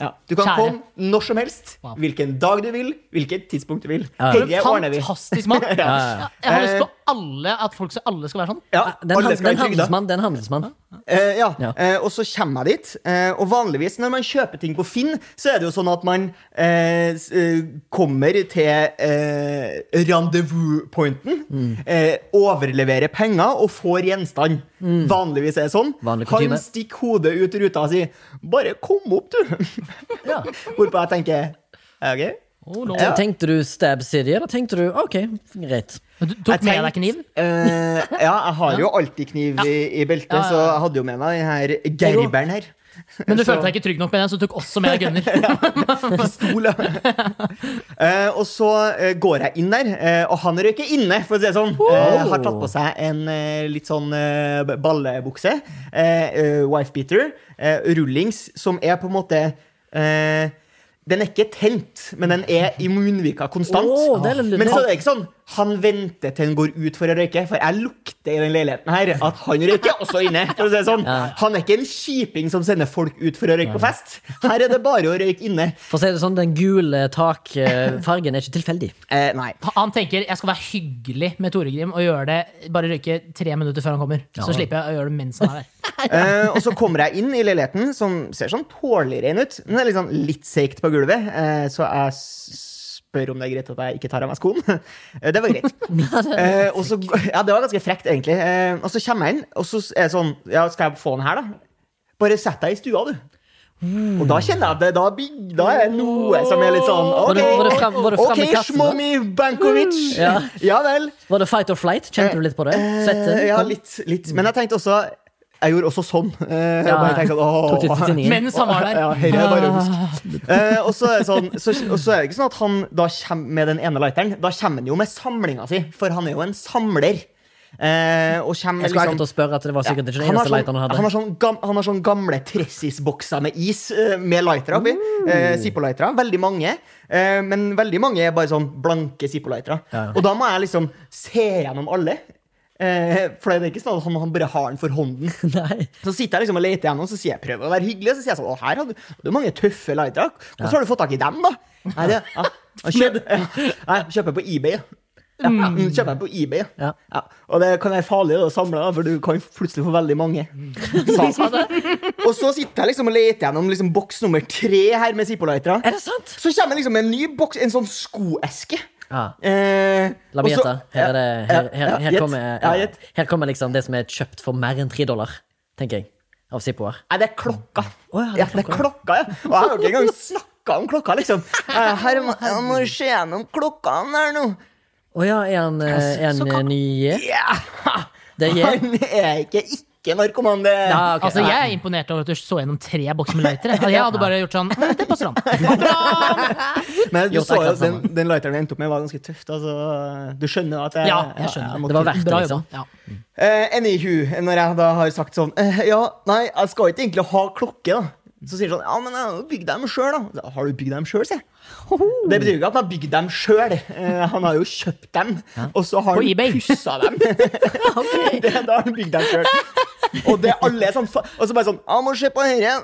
[SPEAKER 2] Ja. Du kan
[SPEAKER 3] Kjære.
[SPEAKER 2] komme når som helst,
[SPEAKER 3] Wow.
[SPEAKER 2] hvilken dag du vil, hvilket tidspunkt du vil.
[SPEAKER 1] Ja.
[SPEAKER 2] Helge ordner vi. Eh. *laughs*
[SPEAKER 3] Fantastisk mann.
[SPEAKER 1] ja, ja.
[SPEAKER 3] Jeg har lyst på alle at folk skal, alle skal være sånn.
[SPEAKER 2] Ja,
[SPEAKER 1] Den,
[SPEAKER 2] alle
[SPEAKER 1] han,
[SPEAKER 2] skal
[SPEAKER 1] den
[SPEAKER 2] være trygda.
[SPEAKER 1] handelsmann. Den handelsmann.
[SPEAKER 2] Eh, ja,
[SPEAKER 1] Ja.
[SPEAKER 2] Eh, og så kommer jeg dit. Eh, og vanligvis når man kjøper ting på Finn, så er det jo sånn at man eh, s- eh, kommer til eh, rendezvous-pointen,
[SPEAKER 3] Mm.
[SPEAKER 2] eh, overleverer penger og får gjenstand.
[SPEAKER 3] Mm.
[SPEAKER 2] Vanligvis er det sånn.
[SPEAKER 1] Vanlig kutyme.
[SPEAKER 2] Han stikker hodet ut ruta og sier 'bare kom opp, du'. *laughs*
[SPEAKER 1] Ja.
[SPEAKER 2] Hvorpå jeg tenker «Ja, OK.
[SPEAKER 3] Oh, no.
[SPEAKER 1] Så Tenkte du stab city, eller tenkte du OK, greit.
[SPEAKER 3] Men Du tok med deg kniv?
[SPEAKER 2] Eh, ja, jeg har jo alltid kniv i, i beltet,
[SPEAKER 3] Ja, ja, ja.
[SPEAKER 2] så jeg hadde jo med meg den her gerberen her.
[SPEAKER 3] Men du følte deg ikke trygg nok med den, så du tok også med deg
[SPEAKER 2] *laughs*
[SPEAKER 3] gunner.
[SPEAKER 2] Pistol, ja. Eh, og så eh, går jeg inn der, eh, og han røyker inne, for å si det sånn. Eh, har tatt på seg en eh, litt sånn eh, b- ballebukse. eh, eh, Wifebeater. eh, rullings, som er på en måte eh, Den er ikke tent, men den er i munnvika konstant.
[SPEAKER 1] Åh, det er litt-
[SPEAKER 2] men så er det ikke sånn han venter til han går ut for å røyke, for jeg lukter i den leiligheten her at han røyker også inne. for å si det sånn. Han er ikke en kjiping som sender folk ut for å røyke på fest. Her er det bare å røyke inne.
[SPEAKER 1] For å si det sånn, den gule takfargen er ikke tilfeldig.
[SPEAKER 2] Eh, nei.
[SPEAKER 3] Han tenker jeg skal være hyggelig med Toregrim og gjøre det, bare røyke tre minutter før han kommer. Så slipper jeg å gjøre det mens han er der.
[SPEAKER 2] Eh, og så kommer jeg inn i leiligheten, som ser sånn tålelig ren ut. Men det er liksom litt seigt på gulvet, eh, så jeg s- spør om det er greit at jeg ikke tar av meg skoene. *laughs* Eh, det var
[SPEAKER 1] *laughs*
[SPEAKER 2] greit. Eh, og så, ja, det var ganske frekt, egentlig. Eh, og så kommer jeg inn, og så er det sånn Ja, skal jeg få den her, da? Bare sett deg i stua, du. Og da kjenner jeg at det, da, blir- da er det noe som er litt sånn
[SPEAKER 1] Var
[SPEAKER 2] OK,
[SPEAKER 1] det- var det frem- var det frem i
[SPEAKER 2] ok,
[SPEAKER 1] kassen, da?
[SPEAKER 2] Shmomi Bankovic.
[SPEAKER 1] Ja.
[SPEAKER 2] ja vel.
[SPEAKER 1] Var det fight or flight? Kjente du litt på det? Svette?
[SPEAKER 2] Eh, Ja,
[SPEAKER 1] Kom.
[SPEAKER 2] litt, litt. Men jeg tenkte også Jeg gjorde også sånn. Eh, jeg
[SPEAKER 1] Ja.
[SPEAKER 2] bare tenkte
[SPEAKER 1] Tok
[SPEAKER 2] sånn,
[SPEAKER 1] du
[SPEAKER 2] åh. *laughs*
[SPEAKER 1] til tinningen?
[SPEAKER 3] Mens han var der.
[SPEAKER 2] Ja, herre, er bare å huske.
[SPEAKER 1] Ah.
[SPEAKER 2] Eh, og, så er det sånn, så, og så er det ikke sånn at han da kommer med den ene lighteren. Da kommer han jo med samlinga si, for han er jo en samler. Eh, og kommer
[SPEAKER 1] Jeg skulle akkurat
[SPEAKER 2] liksom
[SPEAKER 1] å spørre at det var sikkert ikke den
[SPEAKER 2] han har,
[SPEAKER 1] eneste
[SPEAKER 2] sånn,
[SPEAKER 1] lighteren han
[SPEAKER 2] han,
[SPEAKER 1] hadde.
[SPEAKER 2] har sånn gam, han har sånn gamle Tressis-bokser med is eh, med lightere oppi. Eh, Zippo-lightere. Veldig mange. Eh, men veldig mange er bare sånn blanke Zippo-lightere.
[SPEAKER 1] Ja.
[SPEAKER 2] Og da må jeg liksom se gjennom alle. Eh, for det er ikke sånn at han, han bare har den for hånden.
[SPEAKER 1] *laughs* Nei.
[SPEAKER 2] Så sitter jeg liksom og leter gjennom, så sier jeg prøver å være hyggelig. Og så sier jeg sånn, å her har du, du har mange tøffe lightere. Hvordan har du fått tak i dem, da? Nei, det,
[SPEAKER 1] *laughs*
[SPEAKER 2] ja, jeg kjøper, nei, jeg kjøper på eBay. ja. Ja, ja, mm, kjøper jeg på eBay.
[SPEAKER 1] Ja.
[SPEAKER 2] Ja, og det kan være farlig å samle, da, for du kan plutselig få veldig mange.
[SPEAKER 1] Mm. *laughs*
[SPEAKER 2] Så, og så sitter jeg liksom og leter gjennom liksom, boks nummer tre her med Zippo-lightere.
[SPEAKER 1] Er det sant?
[SPEAKER 2] Så kommer liksom en ny boks, en sånn skoeske.
[SPEAKER 1] Ja.
[SPEAKER 2] Eh,
[SPEAKER 1] La meg
[SPEAKER 2] og så-
[SPEAKER 1] gjette. Her, er det- her, her,
[SPEAKER 2] Ja, ja,
[SPEAKER 1] her,
[SPEAKER 2] gjett.
[SPEAKER 1] kommer,
[SPEAKER 2] Ja,
[SPEAKER 1] ja,
[SPEAKER 2] gjett.
[SPEAKER 1] her kommer liksom det som er kjøpt for mer enn tre dollar, tenker jeg. Av Zippo-er.
[SPEAKER 2] Nei, det er klokka.
[SPEAKER 1] Å ja, det er
[SPEAKER 2] ja, det er klokka, ja. Og jeg har ikke engang snakka om klokka, liksom. Eh, *laughs* Her må jeg må se gjennom klokka her nå.
[SPEAKER 1] Å ja, er han, eh, er han
[SPEAKER 3] Så
[SPEAKER 1] eh,
[SPEAKER 3] kan-
[SPEAKER 1] ny J?
[SPEAKER 2] Ja!
[SPEAKER 1] Det er J?
[SPEAKER 2] Han er ikke ikke narkoman, det.
[SPEAKER 1] Ja, ok.
[SPEAKER 3] Altså, jeg er imponert over at du så gjennom tre bokser med lightere. Jeg hadde bare gjort sånn «Mm, Det passer han.
[SPEAKER 2] Men du
[SPEAKER 1] Jo,
[SPEAKER 2] så
[SPEAKER 1] takk, altså.
[SPEAKER 2] jo
[SPEAKER 1] det
[SPEAKER 2] den,
[SPEAKER 1] samme.
[SPEAKER 2] den lighteren jeg endte opp med, var ganske tøft. Altså, du skjønner at jeg,
[SPEAKER 3] Ja, jeg skjønner.
[SPEAKER 2] må
[SPEAKER 1] Det var verdt det,
[SPEAKER 3] Bra
[SPEAKER 1] liksom.
[SPEAKER 3] jobba. Ja.
[SPEAKER 2] Eh, anywho, når jeg da har sagt sånn eh, Ja, nei, jeg skal ikke egentlig ha klokke, da. Så sier de sånn Ja, men jeg har jo bygd dem sjøl, da. Så, Har du bygd dem sjøl, sier jeg. Det betyr jo ikke at han har bygd dem sjøl. Eh, han har jo kjøpt dem. Og så har
[SPEAKER 3] På eBay.
[SPEAKER 2] han pussa
[SPEAKER 3] *laughs*
[SPEAKER 2] dem. *laughs* det, da har han bygd dem sjøl. Og det alle er sånn fa- Og så bare sånn Jeg må se på dette.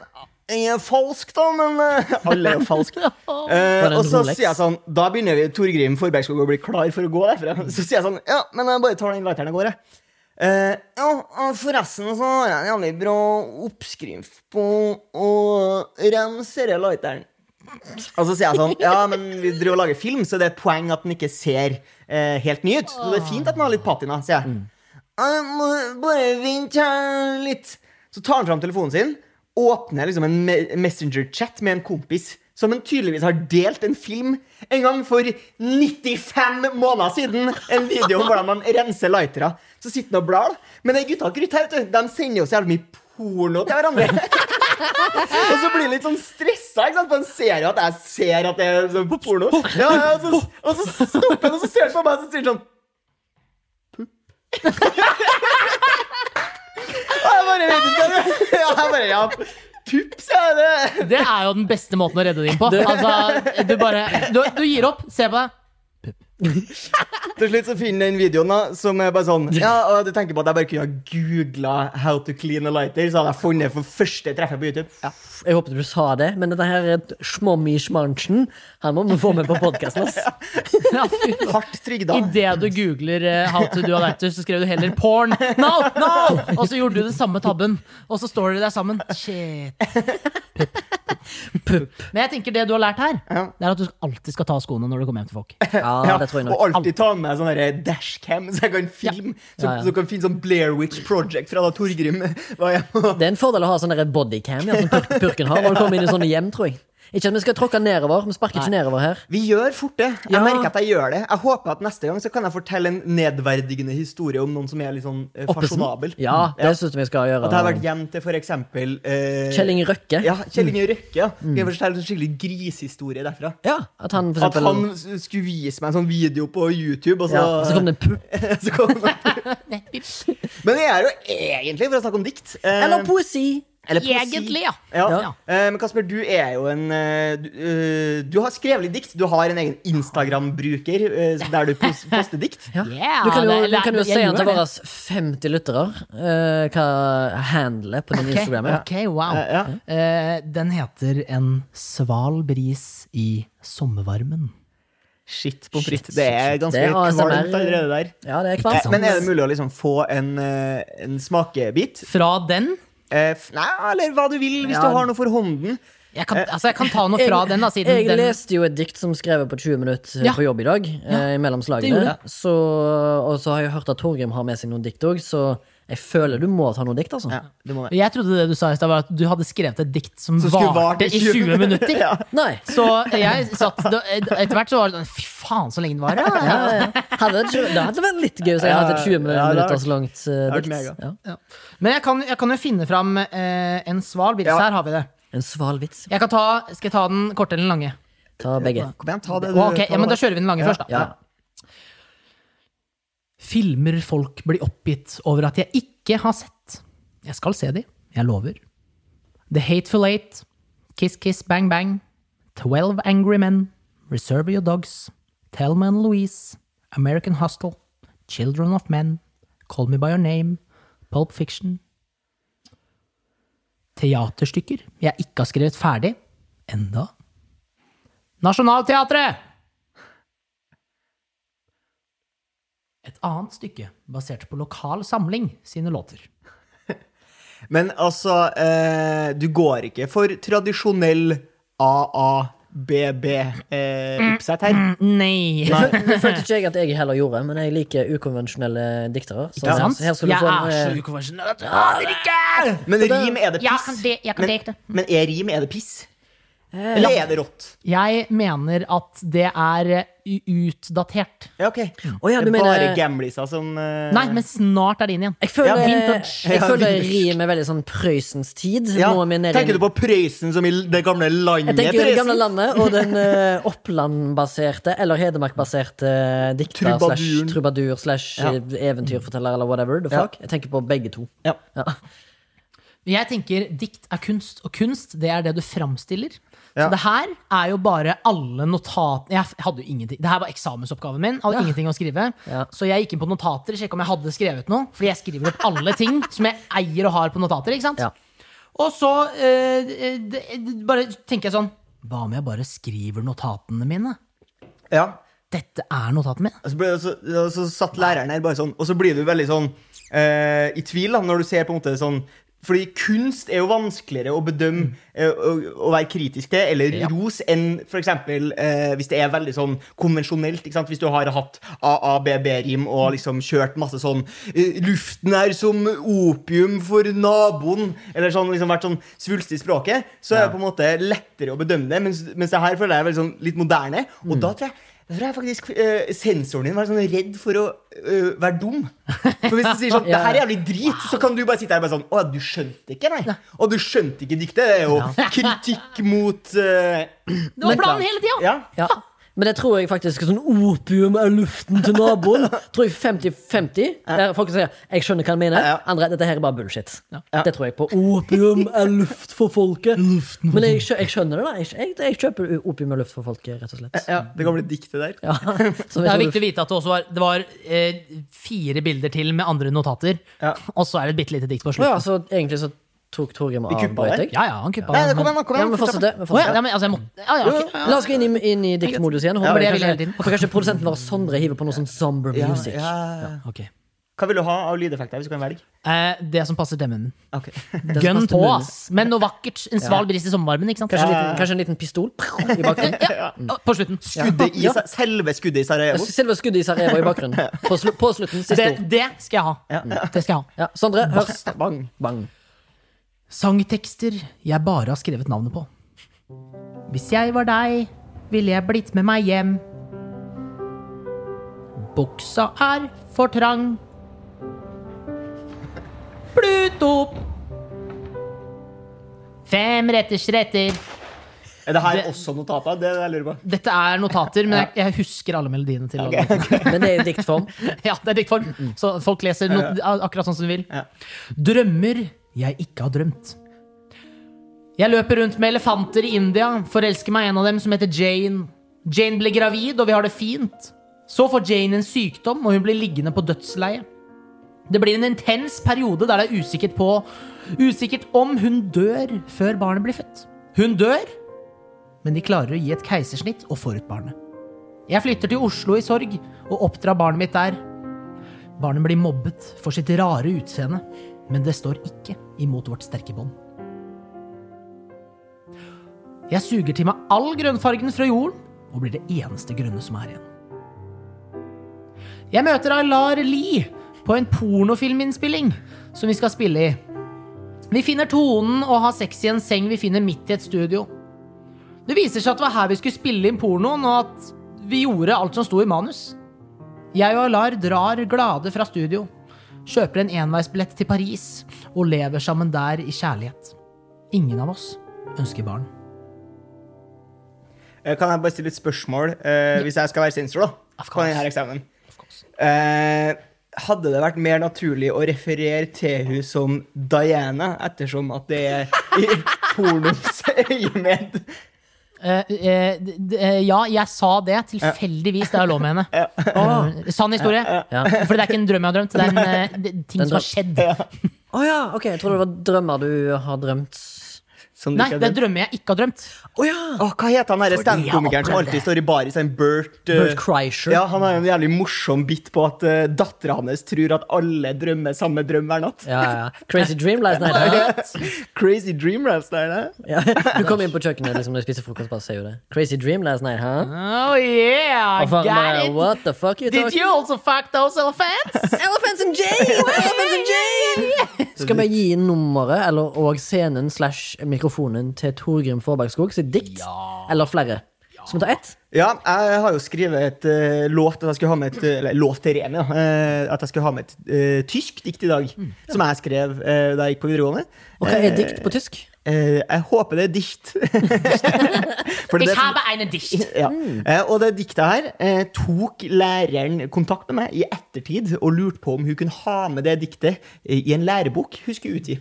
[SPEAKER 2] Jeg er falsk, da, men eh, *laughs* Alle er jo
[SPEAKER 3] *laughs*
[SPEAKER 2] falske. Eh,
[SPEAKER 1] Var det en
[SPEAKER 2] og så
[SPEAKER 1] Rolex?
[SPEAKER 2] sier jeg sånn Da begynner vi Torgrim Forbergskog å bli klar for å gå derfra. *laughs* Så sier jeg sånn Ja, men jeg bare tar den lighteren og går, jeg. Eh, ja, og forresten så har jeg en jævlig bra oppskrift på å rense denne lighteren. Og så sier jeg sånn Ja, men vi driver og lager film, så det er et poeng at den ikke ser eh, helt ny ut. Så det er fint at den har litt patina, sier jeg.
[SPEAKER 1] Mm.
[SPEAKER 2] Jeg må bare vent her litt. Så tar han fram telefonen sin, åpner liksom en me- Messenger-chat med en kompis som han tydeligvis har delt en film en gang for 95 måneder siden. En video om hvordan man renser lightere. Så sitter han og blar. Men de gutta og krutt her, vet du, de sender jo så jævlig mye porno til hverandre. *laughs* Og så blir han litt sånn stressa, ikke sant? for han ser jo at jeg ser at det er sånn på porno. Ja, ja, og, så, og så stopper han, og så ser han på meg og så sier han sånn Pupp. Og jeg bare vet ikke hva det er. *laughs* Ja, jeg bare, ja, pupp, sa jeg det.
[SPEAKER 3] Det er jo den beste måten å redde deg inn på. Altså, du bare Du, du gir opp. Se på deg.
[SPEAKER 2] Til slutt så finner jeg den videoen da, som er bare sånn Ja, og du tenker på at jeg bare kunne ha googla 'How to clean a lighter', så hadde jeg funnet for første treffet på YouTube. Ja.
[SPEAKER 1] Jeg håpet du sa det, men dette her er Schmommi Schmanchen. Han må vi få med på podkasten, ass.
[SPEAKER 3] Ja, fy
[SPEAKER 2] Hardt trygda.
[SPEAKER 3] Idet du googler eh, How to do a lighter, så skrev du heller porn. No, no! Og så gjorde du den samme tabben, og så står dere der sammen. Shit.
[SPEAKER 1] Pupp.
[SPEAKER 3] Men jeg tenker det du har lært her,
[SPEAKER 2] Ja.
[SPEAKER 3] det er at du alltid skal ta av skoene når du kommer hjem til folk.
[SPEAKER 1] *laughs* Ja,
[SPEAKER 2] Ja,
[SPEAKER 1] det tror jeg
[SPEAKER 2] og
[SPEAKER 1] nok.
[SPEAKER 2] alltid ta med sånn her dashcam, så jeg kan film Så,
[SPEAKER 1] Ja, ja.
[SPEAKER 2] så jeg kan finne sånn Blair Witch Project fra da Torgrim var hjemme.
[SPEAKER 1] Det er en fordel å ha sånn der bodycam, ja, som pur- purken har, når du kommer inn i sånne hjem, tror jeg. Ikke at vi skal tråkke nedover. Vi sparker ikke nedover her.
[SPEAKER 2] Vi gjør fort det. Jeg
[SPEAKER 3] Ja.
[SPEAKER 2] merker at jeg gjør det. Jeg håper at neste gang så kan jeg fortelle en nedverdigende historie om noen som er litt sånn eh,
[SPEAKER 1] Oppesen.
[SPEAKER 2] fasjonabel.
[SPEAKER 1] Ja, det syns vi skal gjøre.
[SPEAKER 2] At jeg har vært hjem til for eksempel eh,
[SPEAKER 1] Kjell Inge Røkke.
[SPEAKER 2] Ja, Kjell Inge Røkke. Ja. Skal jeg fortelle en sånn skikkelig grisehistorie derfra?
[SPEAKER 1] Ja, at han for
[SPEAKER 2] At
[SPEAKER 1] eksempel
[SPEAKER 2] han s- skulle vise meg en sånn video på YouTube, og så,
[SPEAKER 1] ja, Så kom det en pupp.
[SPEAKER 2] *laughs* så kom han. Men jeg er jo egentlig for å snakke om dikt. eh,
[SPEAKER 1] Eller poesi.
[SPEAKER 2] eller poesi.
[SPEAKER 3] Egentlig, ja.
[SPEAKER 2] Ja.
[SPEAKER 1] Ja.
[SPEAKER 2] Eh, Men Kasper, du er jo en eh, du, eh, du har skrevet litt dikt. Du har en egen Instagram-bruker eh, der du pos- poster dikt.
[SPEAKER 1] *laughs* Ja.
[SPEAKER 3] Yeah,
[SPEAKER 1] du kan jo,
[SPEAKER 3] det-
[SPEAKER 1] du kan jo
[SPEAKER 3] jeg
[SPEAKER 1] si
[SPEAKER 3] gjør
[SPEAKER 1] til
[SPEAKER 3] det.
[SPEAKER 1] våre 50 lyttere eh, hva handlet på din
[SPEAKER 3] Ok,
[SPEAKER 1] Instagram er.
[SPEAKER 3] ok, wow.
[SPEAKER 2] Eh, ja.
[SPEAKER 3] Eh, den heter En sval bris i sommervarmen.
[SPEAKER 2] Shit pommes
[SPEAKER 1] Shit,
[SPEAKER 2] frites. Det er
[SPEAKER 1] shit, shit.
[SPEAKER 2] ganske
[SPEAKER 1] Det er ASMR.
[SPEAKER 2] kvalmt allerede der.
[SPEAKER 1] Ja, det er
[SPEAKER 2] Eh,
[SPEAKER 1] kvart.
[SPEAKER 2] Men er det mulig å liksom få en, eh, en smakebit?
[SPEAKER 3] Fra den
[SPEAKER 2] Eh, f- Nei, eller hva du vil, hvis
[SPEAKER 1] Ja.
[SPEAKER 2] du har noe for hånden.
[SPEAKER 3] jeg kan,
[SPEAKER 2] Eh.
[SPEAKER 3] altså jeg kan ta noe fra den, da, siden
[SPEAKER 1] jeg
[SPEAKER 3] den
[SPEAKER 1] leste jo et dikt som skrevet på 20 minutter
[SPEAKER 3] Ja.
[SPEAKER 1] på jobb i dag. eh, mellom
[SPEAKER 3] det gjorde
[SPEAKER 1] slagene. Så, og så har jeg hørt at Torgrim har med seg noen dikt òg, så jeg føler du må ta noen dikt, altså.
[SPEAKER 2] Ja, du må det.
[SPEAKER 3] Jeg trodde det du sa i stad, var at du hadde skrevet et dikt som,
[SPEAKER 2] Som skulle
[SPEAKER 3] varte
[SPEAKER 2] vart
[SPEAKER 3] i 20 minutter.
[SPEAKER 2] Ja.
[SPEAKER 1] Nei.
[SPEAKER 3] Så jeg satt da- Etter hvert så var det sånn Fy faen, så lenge den varer.
[SPEAKER 1] Ja,
[SPEAKER 3] Ja.
[SPEAKER 1] ja. Hadde det, tju- det hadde vært litt gøy hvis jeg
[SPEAKER 2] Ja,
[SPEAKER 1] hadde et 20
[SPEAKER 2] ja, det hadde
[SPEAKER 1] minutter så langt eh,
[SPEAKER 2] vært mega.
[SPEAKER 1] dikt. *laughs* Ja.
[SPEAKER 3] Ja. Men jeg kan, jeg kan jo finne fram eh, en sval bris.
[SPEAKER 2] Ja.
[SPEAKER 3] Her har vi det.
[SPEAKER 1] En sval vits.
[SPEAKER 3] Jeg kan ta, skal jeg ta den korte eller den lange?
[SPEAKER 1] Ta begge.
[SPEAKER 2] Kom igjen, ta det.
[SPEAKER 3] Å,
[SPEAKER 2] du-
[SPEAKER 3] ok,
[SPEAKER 2] ta
[SPEAKER 3] ja, men Da
[SPEAKER 2] det.
[SPEAKER 3] kjører vi den lange
[SPEAKER 2] Ja.
[SPEAKER 3] først, da.
[SPEAKER 1] Ja.
[SPEAKER 3] Filmer folk blir oppgitt over at jeg ikke har sett. Jeg skal se de, jeg lover. The Hateful Eight, Kiss Kiss Bang Bang, Twelve Angry Men, Reserve Your Dogs, Thelma and Louise, American Hostel, Children of Men, Call Me By Your Name, Pulp Fiction. Teaterstykker jeg ikke har skrevet ferdig. Enda. Nasjonalteatret! Et annet stykke basert på lokal samling sine låter.
[SPEAKER 2] Men altså, eh, du går ikke for tradisjonell
[SPEAKER 3] Mm.
[SPEAKER 2] AABB-oppsett eh, her.
[SPEAKER 3] Nei!
[SPEAKER 1] Det følte ikke jeg at jeg heller gjorde, men jeg liker ukonvensjonelle diktere. Så
[SPEAKER 3] Ikke sant?
[SPEAKER 1] her, her skulle du få en eh,
[SPEAKER 3] ukonvensjonell at jeg aner ikke!
[SPEAKER 2] Men rim, er det piss?
[SPEAKER 3] Jeg kan det-
[SPEAKER 2] men,
[SPEAKER 3] jeg kan det Eh, ikke.
[SPEAKER 2] men er rim, er det piss? Eller er det rått?
[SPEAKER 3] Jeg mener at det er u- utdatert.
[SPEAKER 2] Ja, ok.
[SPEAKER 1] Å ja,
[SPEAKER 2] det
[SPEAKER 1] du
[SPEAKER 2] er
[SPEAKER 1] mener
[SPEAKER 2] bare gamliser som eh,
[SPEAKER 3] Nei, men snart er det inn igjen.
[SPEAKER 1] Jeg føler,
[SPEAKER 2] Ja,
[SPEAKER 3] vintage.
[SPEAKER 1] jeg
[SPEAKER 2] Ja,
[SPEAKER 1] føler
[SPEAKER 2] vintage.
[SPEAKER 1] rim er veldig sånn Prøysens tid.
[SPEAKER 2] ja.
[SPEAKER 1] Nå er vi nede i
[SPEAKER 2] Tenker
[SPEAKER 1] en-
[SPEAKER 2] du på Prøysen som i l- det gamle landet?
[SPEAKER 1] Jeg tenker det gamle
[SPEAKER 2] Prøysen?
[SPEAKER 1] landet og den eh, Oppland-baserte eller Hedmark-baserte eh, dikter slash
[SPEAKER 2] Trubaduren.
[SPEAKER 1] trubadur slash eh,
[SPEAKER 2] Ja.
[SPEAKER 1] eventyrforteller eller whatever the
[SPEAKER 2] Ja.
[SPEAKER 1] fuck. Jeg tenker på begge to.
[SPEAKER 2] Ja.
[SPEAKER 1] Ja.
[SPEAKER 3] Jeg tenker dikt er kunst, og kunst det er det du framstiller.
[SPEAKER 2] Ja.
[SPEAKER 3] Så det her er jo bare alle notatene Jeg f- hadde jo ingenting Det her var eksamensoppgaven min. Jeg Hadde ingenting å skrive
[SPEAKER 1] Ja.
[SPEAKER 3] Så jeg gikk inn på notater, sjekka om jeg hadde skrevet noe. Fordi jeg skriver opp alle ting som jeg eier og har på notater. Ikke sant?
[SPEAKER 1] Ja.
[SPEAKER 3] Og så eh, det, det, bare tenker jeg sånn Hva om jeg bare skriver notatene mine?
[SPEAKER 2] Ja.
[SPEAKER 3] Dette er notatene mine.
[SPEAKER 2] Og så, ble, det så, og så satt læreren her bare sånn, og så blir du veldig sånn eh, i tvil da, når du ser på en måte sånn fordi kunst er jo vanskeligere å bedømme eh, å, å være kritisk til, eller
[SPEAKER 3] Ja.
[SPEAKER 2] ros, enn f.eks. Eh, hvis det er veldig sånn konvensjonelt. Ikke sant? Hvis du har hatt AABB-rim og liksom kjørt masse sånn eh, 'Luften er som opium for naboen', eller sånn, liksom vært sånn svulstig i språket, så er det på en måte lettere å bedømme det. Mens, mens det her føler jeg er veldig sånn litt moderne. Og da tror jeg da tror jeg faktisk eh, sensoren din var sånn redd for å eh, være dum. For hvis du sier *laughs* sånn, det her er jævlig drit, så kan du bare sitte her og bare sånn Å, du skjønte ikke, nei. Og du skjønte ikke diktet. Det er jo *laughs* kritikk mot eh,
[SPEAKER 3] Det var planen hele tida!
[SPEAKER 2] Ja.
[SPEAKER 1] Ja. Men det tror jeg faktisk er sånn opium er luften til naboen. Tror jeg 50-50. Der Folk sier 'jeg skjønner hva han mener'.
[SPEAKER 2] Ja.
[SPEAKER 1] Andre 'dette her er bare bullshit'.
[SPEAKER 2] Ja.
[SPEAKER 1] Det tror jeg på. Opium er luft for folket. Men jeg, skjø- jeg skjønner det, da. Jeg, jeg, jeg kjøper opium er luft for folket, rett og slett.
[SPEAKER 2] ja. Det gamle diktet der.
[SPEAKER 3] *laughs*
[SPEAKER 1] Ja. Som jeg
[SPEAKER 3] Det er
[SPEAKER 1] tror du-
[SPEAKER 3] viktig å vite at det også var, det var eh, fire bilder til med andre notater.
[SPEAKER 2] Ja.
[SPEAKER 3] Og så er det et bitte lite dikt på
[SPEAKER 1] Å
[SPEAKER 3] slutten.
[SPEAKER 1] ja, så egentlig så tok Torgrim og
[SPEAKER 2] Vi kuppa
[SPEAKER 1] avbrøt
[SPEAKER 2] det.
[SPEAKER 1] deg?
[SPEAKER 3] Ja, ja, han kuppa.
[SPEAKER 2] Nei, det kom igjen, da, kom
[SPEAKER 1] Ja,
[SPEAKER 2] igjen.
[SPEAKER 1] men fortsett det. men
[SPEAKER 3] Å ja,
[SPEAKER 1] fortsett det.
[SPEAKER 3] ja, men altså, jeg må ja, ja, ok.
[SPEAKER 1] La oss gå inn i, inn i diktmodus igjen.
[SPEAKER 3] Ja,
[SPEAKER 1] Håper, jeg
[SPEAKER 3] det vil jeg hele
[SPEAKER 1] kanskje,
[SPEAKER 3] tiden.
[SPEAKER 1] håper kanskje produsenten vår Sondre hiver på noe sånn somber
[SPEAKER 2] Ja,
[SPEAKER 1] music.
[SPEAKER 2] ja.
[SPEAKER 3] Ok.
[SPEAKER 2] Hva vil du ha av lydeffekter hvis du kan velge?
[SPEAKER 3] Eh, det som passer stemmen min.
[SPEAKER 2] Ok.
[SPEAKER 1] Det sånn som
[SPEAKER 3] Gønn
[SPEAKER 1] passer
[SPEAKER 3] på,
[SPEAKER 1] til munnen.
[SPEAKER 3] ass! Men noe vakkert. En sval bris i sommervarmen, ikke sant?
[SPEAKER 1] Kanskje, en liten, kanskje en liten pistol
[SPEAKER 3] *laughs*
[SPEAKER 1] i bakgrunnen.
[SPEAKER 3] Ja, å, På slutten.
[SPEAKER 2] Skuddet i,
[SPEAKER 1] Ja.
[SPEAKER 2] Sa- Selve skuddet i Sarajevo.
[SPEAKER 1] Selve skuddet i Sarajevo i bakgrunnen. På, slu, på slutten. Siste
[SPEAKER 3] Det,
[SPEAKER 1] ord.
[SPEAKER 3] det skal jeg ha.
[SPEAKER 2] Ja.
[SPEAKER 3] Det skal jeg ha.
[SPEAKER 1] Ja, Sondre, hør.
[SPEAKER 2] Bang.
[SPEAKER 1] Bang.
[SPEAKER 3] Sangtekster jeg bare har skrevet navnet på. Hvis jeg var deg, ville jeg blitt med meg hjem. Buksa er for trang. Pluto! Fem retters retter.
[SPEAKER 2] Er det her
[SPEAKER 3] Det-
[SPEAKER 2] også notater? Det er det jeg lurer på.
[SPEAKER 3] Dette er notater, men jeg, jeg husker alle melodiene til alle.
[SPEAKER 1] Men det er i diktform.
[SPEAKER 3] *laughs* Ja, det er diktform. Så folk leser no akkurat sånn som de vil.
[SPEAKER 2] Ja.
[SPEAKER 3] Drømmer jeg ikke har drømt. Jeg løper rundt med elefanter i India, forelsker meg i en av dem som heter Jane. Jane blir gravid, og vi har det fint. Så får Jane en sykdom, og hun blir liggende på dødsleiet. Det blir en intens periode der det er usikkert på Usikkert om hun dør før barnet blir født. Hun dør, men de klarer å gi et keisersnitt og får ut barnet. Jeg flytter til Oslo i sorg og oppdrar barnet mitt der. Barnet blir mobbet for sitt rare utseende, men det står ikke imot vårt sterke bånd. Jeg suger til meg all grønnfargen fra jorden og blir det eneste grønne som er igjen. Jeg møter Aylar Lie på en pornofilminnspilling som vi skal spille i. Vi finner tonen og har sex i en seng vi finner midt i et studio. Det viser seg at det var her vi skulle spille inn pornoen, og at vi gjorde alt som sto i manus. Jeg og Alar drar glade fra studio, kjøper en enveisbillett til Paris og lever sammen der i kjærlighet. Ingen av oss ønsker barn.
[SPEAKER 2] Eh, Kan jeg bare stille et spørsmål, eh, hvis jeg skal være sensor, da?
[SPEAKER 3] Of
[SPEAKER 2] På
[SPEAKER 3] course.
[SPEAKER 2] denne eksamen.
[SPEAKER 3] course.
[SPEAKER 2] Eh, hadde det vært mer naturlig å referere til hun som Diana, ettersom at det er i pornos øyemed?
[SPEAKER 3] Eh, eh, d- d- eh, ja, jeg sa det tilfeldigvis da jeg lå med henne. Eh, sann historie.
[SPEAKER 1] Ja.
[SPEAKER 3] For det er ikke en drøm jeg har drømt, det er en eh, d- ting
[SPEAKER 1] Den
[SPEAKER 3] som har
[SPEAKER 1] drøm-
[SPEAKER 3] skjedd.
[SPEAKER 1] Å ja, ok. Jeg tror det var drømmer du har drømt.
[SPEAKER 2] Som du
[SPEAKER 3] Nei,
[SPEAKER 2] ikke
[SPEAKER 3] det er
[SPEAKER 2] hadde-
[SPEAKER 3] drømmer jeg ikke har drømt.
[SPEAKER 1] Å ja!
[SPEAKER 2] Åh, hva heter han
[SPEAKER 1] Fordi
[SPEAKER 2] derre
[SPEAKER 1] jeg
[SPEAKER 2] standup-komikeren som
[SPEAKER 1] opplevde
[SPEAKER 2] alltid står i baris? Han Bert, eh,
[SPEAKER 1] Bert Kreischer.
[SPEAKER 2] Ja, Han har en jævlig morsom bit på at uh, dattera hans tror at alle drømmer samme drøm hver natt.
[SPEAKER 1] Ja, ja. Crazy Dream last night.
[SPEAKER 2] *laughs* Crazy dream raps der, det.
[SPEAKER 1] Ja. Du kom inn på kjøkkenet liksom, når jeg spiste frokost, bare sier jo det. Crazy Dream last night, huh?
[SPEAKER 3] Oh yeah,
[SPEAKER 1] Og folk
[SPEAKER 3] got
[SPEAKER 1] bare,
[SPEAKER 3] it!
[SPEAKER 1] What the fuck you
[SPEAKER 3] Did
[SPEAKER 1] talking
[SPEAKER 3] you also fuck those elephants?
[SPEAKER 1] Elephants and *laughs* Jane! Elephants and Jane! Skal vi gi nummeret eller og scenen slash mikrofonen til Torgrim Forbergskog sitt dikt? Eller flere? Skal vi ta ett?
[SPEAKER 2] Ja, jeg har jo skrevet et eh, låt at jeg skulle ha med et, eh, eller, låt til Remi, da. eh, at jeg skulle ha med et eh, tysk dikt i dag. Som jeg skrev eh, da jeg gikk på videregående.
[SPEAKER 1] Mm, Og hva er dikt på tysk?
[SPEAKER 2] Eh, jeg håper det er
[SPEAKER 1] *laughs*
[SPEAKER 2] dikt. For det er det
[SPEAKER 3] Ich
[SPEAKER 2] som-
[SPEAKER 3] habe eine Dicht.
[SPEAKER 2] Ja.
[SPEAKER 1] Mm.
[SPEAKER 2] Eh, og det diktet her eh, tok læreren kontakt med meg i ettertid og lurte på om hun kunne ha med det diktet eh, i en lærebok hun skulle utgi.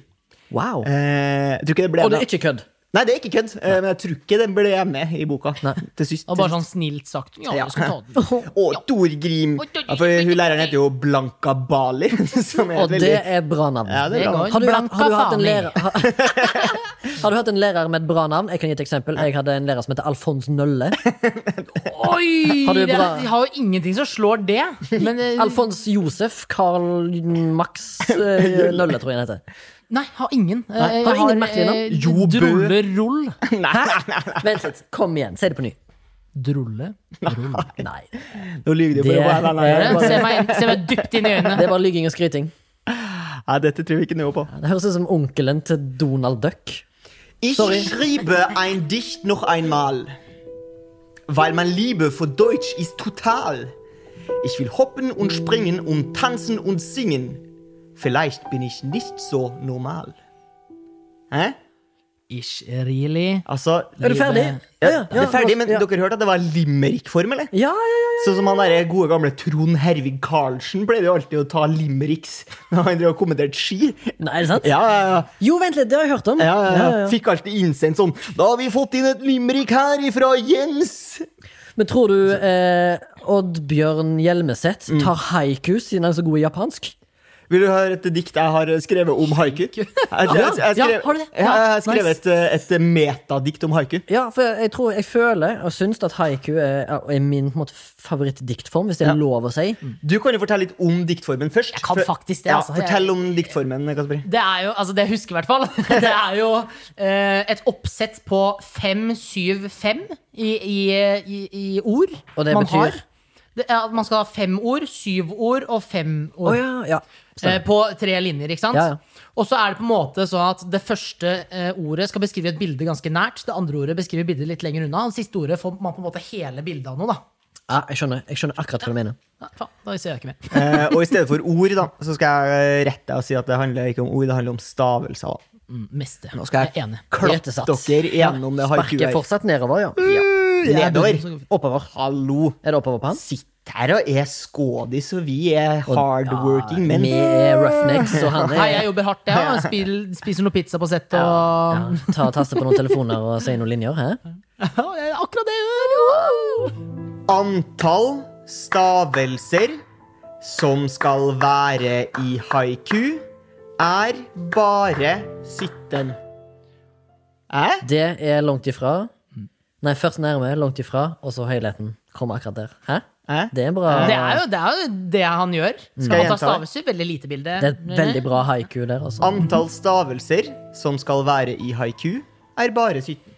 [SPEAKER 1] Wow.
[SPEAKER 2] Eh, jeg tror ikke det ble
[SPEAKER 1] Og det
[SPEAKER 2] med.
[SPEAKER 1] er ikke kødd.
[SPEAKER 2] Nei, det er ikke kødd, eh, men jeg tror ikke den ble med i boka. Til sist.
[SPEAKER 3] Og bare sånn snilt sagt. Ja,
[SPEAKER 2] Ja.
[SPEAKER 3] jeg skal ta
[SPEAKER 1] *laughs*
[SPEAKER 3] den.
[SPEAKER 2] Å, Torgrim! Ja, for hun læreren heter jo Blanka Bali. *laughs* Som er
[SPEAKER 1] Og
[SPEAKER 2] et veldig...
[SPEAKER 1] det er bra navn.
[SPEAKER 2] Ja, det er bra.
[SPEAKER 3] går.
[SPEAKER 1] Har du, hatt- har, du hatt en lærer,
[SPEAKER 3] Blanka
[SPEAKER 1] *laughs* har, har du hatt en lærer med et bra navn? Jeg kan gi et eksempel. Jeg hadde en lærer som heter Alfons *laughs* Nølle.
[SPEAKER 3] Oi!
[SPEAKER 1] Har du
[SPEAKER 3] det er-
[SPEAKER 1] bra-
[SPEAKER 3] De har jo ingenting som slår det. Men eh,
[SPEAKER 1] Alfons Josef Carl Max eh,
[SPEAKER 2] *laughs*
[SPEAKER 1] Nølle, tror jeg han heter.
[SPEAKER 3] nei, har ingen. Eh,
[SPEAKER 1] Nei, har
[SPEAKER 3] jeg
[SPEAKER 1] ingen merkelige navn?
[SPEAKER 3] eh,
[SPEAKER 2] Jo, Bø.
[SPEAKER 3] Drullerull.
[SPEAKER 1] Vent litt. Kom igjen. Si det på ny.
[SPEAKER 3] Drulle. Rull.
[SPEAKER 1] Nei.
[SPEAKER 2] Nå lyver de
[SPEAKER 1] Det-
[SPEAKER 2] bare. Nei, nei, nei,
[SPEAKER 3] Eh, Se
[SPEAKER 2] bare-
[SPEAKER 3] meg, inn- se meg dypt inn i øynene.
[SPEAKER 1] Det er bare lygging og skryting.
[SPEAKER 2] Nei, dette tror vi ikke noe på.
[SPEAKER 1] Det høres ut som onkelen til Donald Duck.
[SPEAKER 2] Ich
[SPEAKER 1] Sorry.
[SPEAKER 2] schreibe ein Dicht noch einmal, weil meine Liebe für Deutsch ist total. Ich will hoppen und springen und tanzen und singen. Vielleicht bin ich nicht so normal. Hæ?
[SPEAKER 3] Ish, really?
[SPEAKER 2] Altså
[SPEAKER 1] Er du ferdig?
[SPEAKER 2] Ja, det er ferdig, men
[SPEAKER 1] ja.
[SPEAKER 2] dere hørte at det var limerick-form, eller?
[SPEAKER 1] Ja, ja, ja.
[SPEAKER 2] Sånn som han der gode gamle Trond Hervig Karlsen pleide jo alltid å ta limericks når han drev og kommenterte ski.
[SPEAKER 1] Nei, er det sant?
[SPEAKER 2] Ja, ja, ja.
[SPEAKER 1] Jo, vent litt, det har jeg hørt om.
[SPEAKER 2] Ja, ja, ja. Fikk alltid innsendt sånn Da har vi fått inn et limerick her ifra Jens!
[SPEAKER 1] Men tror du eh, Oddbjørn Hjelmeset tar haiku siden han er så god i japansk?
[SPEAKER 2] Vil du høre et dikt jeg har skrevet om haiku? Jeg, jeg, jeg, jeg
[SPEAKER 1] Ja,
[SPEAKER 2] skrev-
[SPEAKER 1] har du det?
[SPEAKER 2] Ja, jeg har
[SPEAKER 1] Ja, nice.
[SPEAKER 2] skrevet et, eh, et metadikt om haiku.
[SPEAKER 1] Ja, for jeg, jeg tror jeg føler og syns at haiku er, er min på en måte, favorittdiktform, hvis det er lov å si.
[SPEAKER 2] Du kan jo fortelle litt om diktformen først.
[SPEAKER 3] Jeg kan
[SPEAKER 2] For-
[SPEAKER 3] faktisk det,
[SPEAKER 2] Ja,
[SPEAKER 3] altså.
[SPEAKER 2] fortell om diktformen, Kasper.
[SPEAKER 3] Det er jo, altså det jeg husker i hvert fall, *laughs* det er jo eh, et oppsett på 5-7-5 i, i, i, i ord.
[SPEAKER 1] Og det
[SPEAKER 3] man
[SPEAKER 1] betyr?
[SPEAKER 3] Har. Det er at man skal ha fem ord, syv ord og fem ord.
[SPEAKER 1] Å ja, ja.
[SPEAKER 3] Eh, på Eh, tre linjer, ikke sant?
[SPEAKER 1] Ja, ja.
[SPEAKER 3] Og så er det på en måte sånn at det første eh, ordet skal beskrive et bilde ganske nært. Det andre ordet beskriver bildet litt lenger unna. Det siste ordet får man på en måte hele bildet av noe, da.
[SPEAKER 1] Ja, jeg skjønner jeg skjønner akkurat hva du mener.
[SPEAKER 3] Nei, faen, da ser jeg ikke mer.
[SPEAKER 2] Eh, og i stedet for ord, da, så skal jeg eh, rette deg og si at det handler ikke om ord, det handler om stavelser. da.
[SPEAKER 3] Mm, Meste.
[SPEAKER 2] Nå skal
[SPEAKER 3] jeg er
[SPEAKER 2] jeg
[SPEAKER 3] enig.
[SPEAKER 2] klappe
[SPEAKER 1] Hjertesats.
[SPEAKER 2] dere gjennom det haikuet
[SPEAKER 1] Sparker
[SPEAKER 2] her.
[SPEAKER 1] fortsatt nedover, ja.
[SPEAKER 2] Nedover.
[SPEAKER 1] Oppover.
[SPEAKER 2] Hallo.
[SPEAKER 1] Er det oppover på han?
[SPEAKER 2] Sitt her og er skådis, og vi er hardworking menn.
[SPEAKER 1] Vi er roughnecks, og han
[SPEAKER 3] Hei, jeg
[SPEAKER 1] er
[SPEAKER 3] jobber hardt, jeg. Ja. Spil, spiser noe pizza på sett og
[SPEAKER 1] ja, Ta taste på noen telefoner og si noen linjer. Hæ?
[SPEAKER 3] *laughs* Ja, Akkurat det jeg gjør! Wow!
[SPEAKER 2] Antall stavelser som skal være i haiku, er bare 17. Hæ?
[SPEAKER 1] Det er langt ifra. Nei, først nærme, langt ifra, og så høyligheten. Kommer akkurat der. Hæ?
[SPEAKER 2] Hæ?
[SPEAKER 1] Det er bra.
[SPEAKER 3] Det er jo det, er jo det han gjør.
[SPEAKER 2] Skal jeg
[SPEAKER 3] Skal han ta
[SPEAKER 2] gjenta det?
[SPEAKER 3] staveser? Veldig lite bilde.
[SPEAKER 1] Det er et veldig bra haiku der, altså.
[SPEAKER 2] Antall stavelser som skal være i haiku, er bare 17.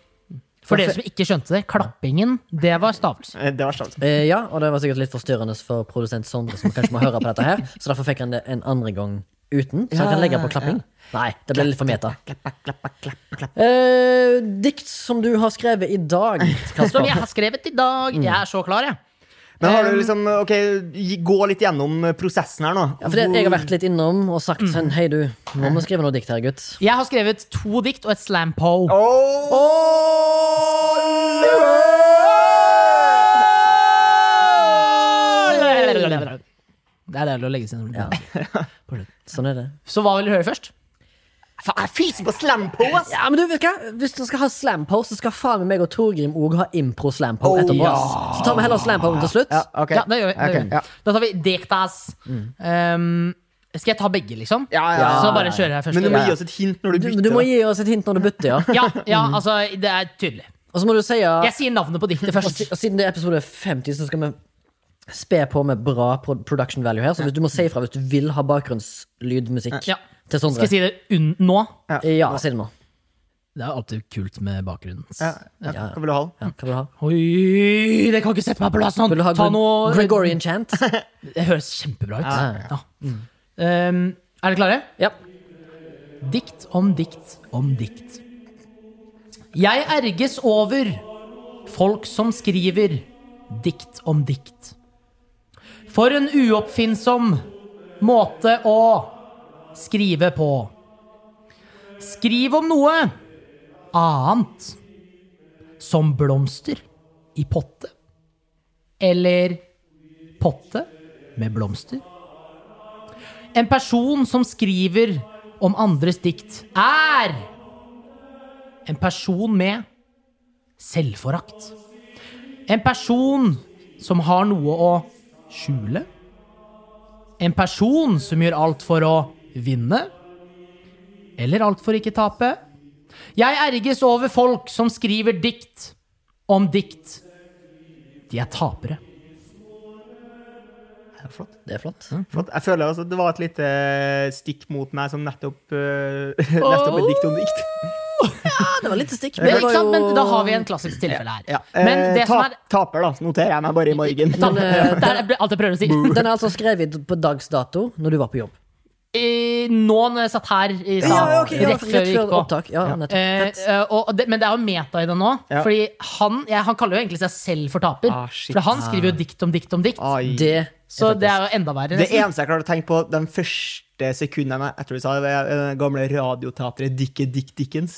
[SPEAKER 3] For dere som ikke skjønte det, klappingen, det var stavelse.
[SPEAKER 2] Eh, Det var sant.
[SPEAKER 1] Eh, ja, og det var sikkert litt forstyrrende for produsent Sondre, som kanskje må høre på dette her, så derfor fikk han det en andre gang uten, så han kan legge på klapping. Nei, det ble litt for meta. Eh, dikt som du har skrevet i dag,
[SPEAKER 3] Som jeg
[SPEAKER 1] Kasper.
[SPEAKER 3] har skrevet i dag. Jeg er så klar, jeg.
[SPEAKER 2] Men har
[SPEAKER 1] Um,
[SPEAKER 2] du liksom, ok, gi- Gå litt gjennom prosessen her nå.
[SPEAKER 1] Ja, for det, jeg har vært litt innom og sagt sånn, hei du, nå må vi skrive noe dikt her, gutt.
[SPEAKER 3] Jeg har skrevet to dikt og et slam po.
[SPEAKER 2] Åh!
[SPEAKER 3] Det er deilig å legge seg når du
[SPEAKER 1] Sånn er det.
[SPEAKER 3] Så hva vil du høre først?
[SPEAKER 2] Faen, jeg fyser på slampo, ass!
[SPEAKER 1] Ja, men du, vet du hva? Hvis du skal ha slampost, så skal faen meg meg og Torgrim òg ha impro-slampost etterpå.
[SPEAKER 2] ja.
[SPEAKER 1] ass. Så tar vi heller slamposten til slutt.
[SPEAKER 2] Ja, ok.
[SPEAKER 3] Ja, det gjør vi. Det
[SPEAKER 2] Ok,
[SPEAKER 3] gjør vi.
[SPEAKER 2] ja. Mm.
[SPEAKER 3] Da tar vi dektas. Um, skal jeg ta begge, liksom?
[SPEAKER 2] Ja, ja, ja.
[SPEAKER 3] Så bare kjører jeg først.
[SPEAKER 2] Men du må
[SPEAKER 1] Ja.
[SPEAKER 2] gi oss et hint når du
[SPEAKER 1] Du,
[SPEAKER 2] bytter.
[SPEAKER 1] du må gi oss et hint når du bytter, ja.
[SPEAKER 3] ja, ja, altså, det er tydelig.
[SPEAKER 1] Og så må du si ja.
[SPEAKER 3] Jeg sier navnet på
[SPEAKER 2] *laughs*
[SPEAKER 1] Og,
[SPEAKER 3] diktet først.
[SPEAKER 1] si- og siden det er episode 50, så skal vi spe på med bra pro production value her. Så hvis du må si ifra hvis du vil ha bakgrunnslydmusikk
[SPEAKER 3] Ja.
[SPEAKER 1] til
[SPEAKER 3] Skal
[SPEAKER 1] Sondre.
[SPEAKER 3] jeg si det un nå?
[SPEAKER 1] Ja, si det nå.
[SPEAKER 3] Det er alltid kult med bakgrunnen.
[SPEAKER 2] Ja, ja. Hva vil du ha?
[SPEAKER 1] Ja, hva vil du ha?
[SPEAKER 3] Oi, det kan ikke sette meg på plass sånn!
[SPEAKER 1] Vil du ha
[SPEAKER 3] Ta
[SPEAKER 1] Gre-
[SPEAKER 3] noe
[SPEAKER 1] Gregorian
[SPEAKER 3] *laughs*
[SPEAKER 1] chant?
[SPEAKER 3] Det høres kjempebra ut.
[SPEAKER 1] Ja, ja,
[SPEAKER 3] Ja. Um, er dere klare?
[SPEAKER 1] Ja.
[SPEAKER 3] Dikt om dikt om dikt. Jeg erges over folk som skriver dikt om dikt. For en uoppfinnsom måte å skrive på. Skriv om noe annet. Som blomster i potte. Eller potte med blomster. En person som skriver om andres dikt, er en person med selvforakt. En person som har noe å skjule. En person som gjør alt for å vinne. Eller alt for ikke tape. Jeg erges over folk som skriver dikt om dikt. De er tapere.
[SPEAKER 2] Ja, Flott.
[SPEAKER 1] Det er flott.
[SPEAKER 2] Flott. Jeg føler altså, Det var et lite eh, stikk mot meg som nettopp eh, *laughs* leste opp et dikt om dikt.
[SPEAKER 1] Ja, det var litt stikk.
[SPEAKER 3] Men,
[SPEAKER 1] det var
[SPEAKER 3] ikke sant? men
[SPEAKER 1] jo-
[SPEAKER 3] da har vi en klassisk tilfelle her.
[SPEAKER 2] Ja.
[SPEAKER 3] Men
[SPEAKER 2] Eh,
[SPEAKER 3] det som er
[SPEAKER 2] tap, Taper, da. Så noterer jeg meg bare i margen.
[SPEAKER 3] Ta-
[SPEAKER 2] *laughs*
[SPEAKER 3] Det er det- alt jeg prøver å si.
[SPEAKER 1] Den er altså skrevet på dags dato når du var på jobb.
[SPEAKER 3] Eh, Nå når jeg satt her i stad,
[SPEAKER 1] ja,
[SPEAKER 3] rett før vi gikk på.
[SPEAKER 1] opptak. Ja, nettopp.
[SPEAKER 3] Eh,
[SPEAKER 1] Fett.
[SPEAKER 3] eh, og det, men det er jo meta i det nå.
[SPEAKER 2] Ja.
[SPEAKER 3] Fordi han, ja, han kaller jo egentlig seg selv for taper.
[SPEAKER 2] Ah, shit.
[SPEAKER 3] for han skriver jo dikt om dikt om dikt.
[SPEAKER 2] Ai.
[SPEAKER 1] Det er
[SPEAKER 3] Eh, så det
[SPEAKER 1] faktisk-
[SPEAKER 3] er jo enda verre.
[SPEAKER 2] Det
[SPEAKER 3] nesten.
[SPEAKER 2] eneste jeg klarte å tenke på de første sekundene etter du sa det, var det gamle radioteatret Dicke Dick Dickens.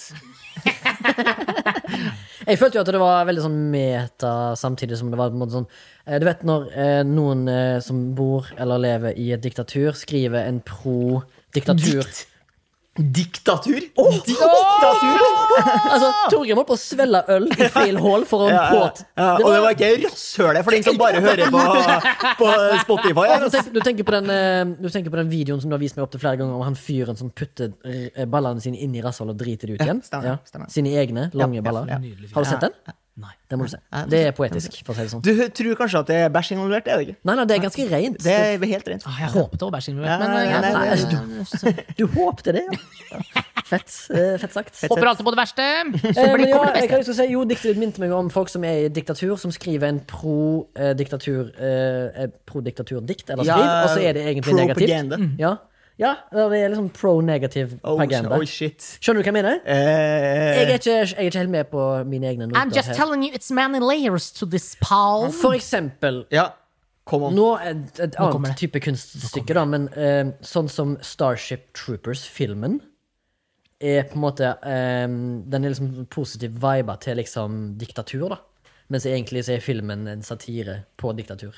[SPEAKER 1] Jeg følte jo at det var veldig sånn meta, samtidig som det var på en måte sånn eh, Du vet når eh, noen eh, som bor eller lever i et diktatur, skriver en pro-diktatur
[SPEAKER 2] Dikt. Diktatur? Diktatur!
[SPEAKER 1] Altså, Torgrim holdt på å svelge øl i feil hull for å
[SPEAKER 2] Ja, ja,
[SPEAKER 1] påt.
[SPEAKER 2] ja, og det var ikke rasshølet for den *laughs* som bare hører på, på Spotify.
[SPEAKER 1] Altså, tenk, du, tenker på den, eh, du tenker på den videoen som du har vist meg opp til flere ganger, om han fyren som putter eh, ballene sine inn i rassholdet og driter det ut igjen.
[SPEAKER 2] stemmer, stemmer.
[SPEAKER 1] Sine egne, lange
[SPEAKER 2] Ja,
[SPEAKER 1] baller.
[SPEAKER 2] ja.
[SPEAKER 1] Har du sett den?
[SPEAKER 3] Nei.
[SPEAKER 1] Den må du se. Det er poetisk, for å si det sånn.
[SPEAKER 2] Du tror kanskje at det er bæsj involvert? Er det ikke?
[SPEAKER 1] Nei, nei, det er ganske rent.
[SPEAKER 2] Det er helt rent.
[SPEAKER 3] Ah, Jeg håpet det var bæsj involvert,
[SPEAKER 2] Ja, ja,
[SPEAKER 3] men eh,
[SPEAKER 2] ja,
[SPEAKER 1] Nei, altså,
[SPEAKER 2] Nei,
[SPEAKER 1] du, *laughs* du håpte det, ja. Fett, eh, fett sagt.
[SPEAKER 2] Fett.
[SPEAKER 3] Håper alltid på det verste.
[SPEAKER 1] Eh,
[SPEAKER 3] Så blir
[SPEAKER 1] men ja,
[SPEAKER 3] kommer det
[SPEAKER 1] jeg kan jo
[SPEAKER 3] beste.
[SPEAKER 1] si, jo, Diktet ditt minte meg om folk som er i diktatur, som skriver en eh, pro-diktatur-dikt. eller skriv,
[SPEAKER 2] Ja,
[SPEAKER 1] og så er det egentlig negativt. Mm,
[SPEAKER 2] propaganda.
[SPEAKER 1] Ja. Ja, det er liksom pro-negative
[SPEAKER 2] Oh,
[SPEAKER 1] agenda.
[SPEAKER 2] oh shit.
[SPEAKER 1] Skjønner du hva jeg mener? Jeg
[SPEAKER 2] Eh,
[SPEAKER 1] er, ikke, jeg er ikke helt med på mine egne
[SPEAKER 3] I'm
[SPEAKER 1] noter
[SPEAKER 3] just
[SPEAKER 1] her.
[SPEAKER 3] telling you, it's many layers to this palm.
[SPEAKER 1] For eksempel
[SPEAKER 2] ja, kom an.
[SPEAKER 1] Nå et, et
[SPEAKER 3] kommer det.
[SPEAKER 1] annet type kunststykke, da, men eh, sånn som Starship Troopers-filmen er på en måte eh, Den er liksom positiv viba til liksom diktatur, da. Mens egentlig så er filmen en satire på diktatur.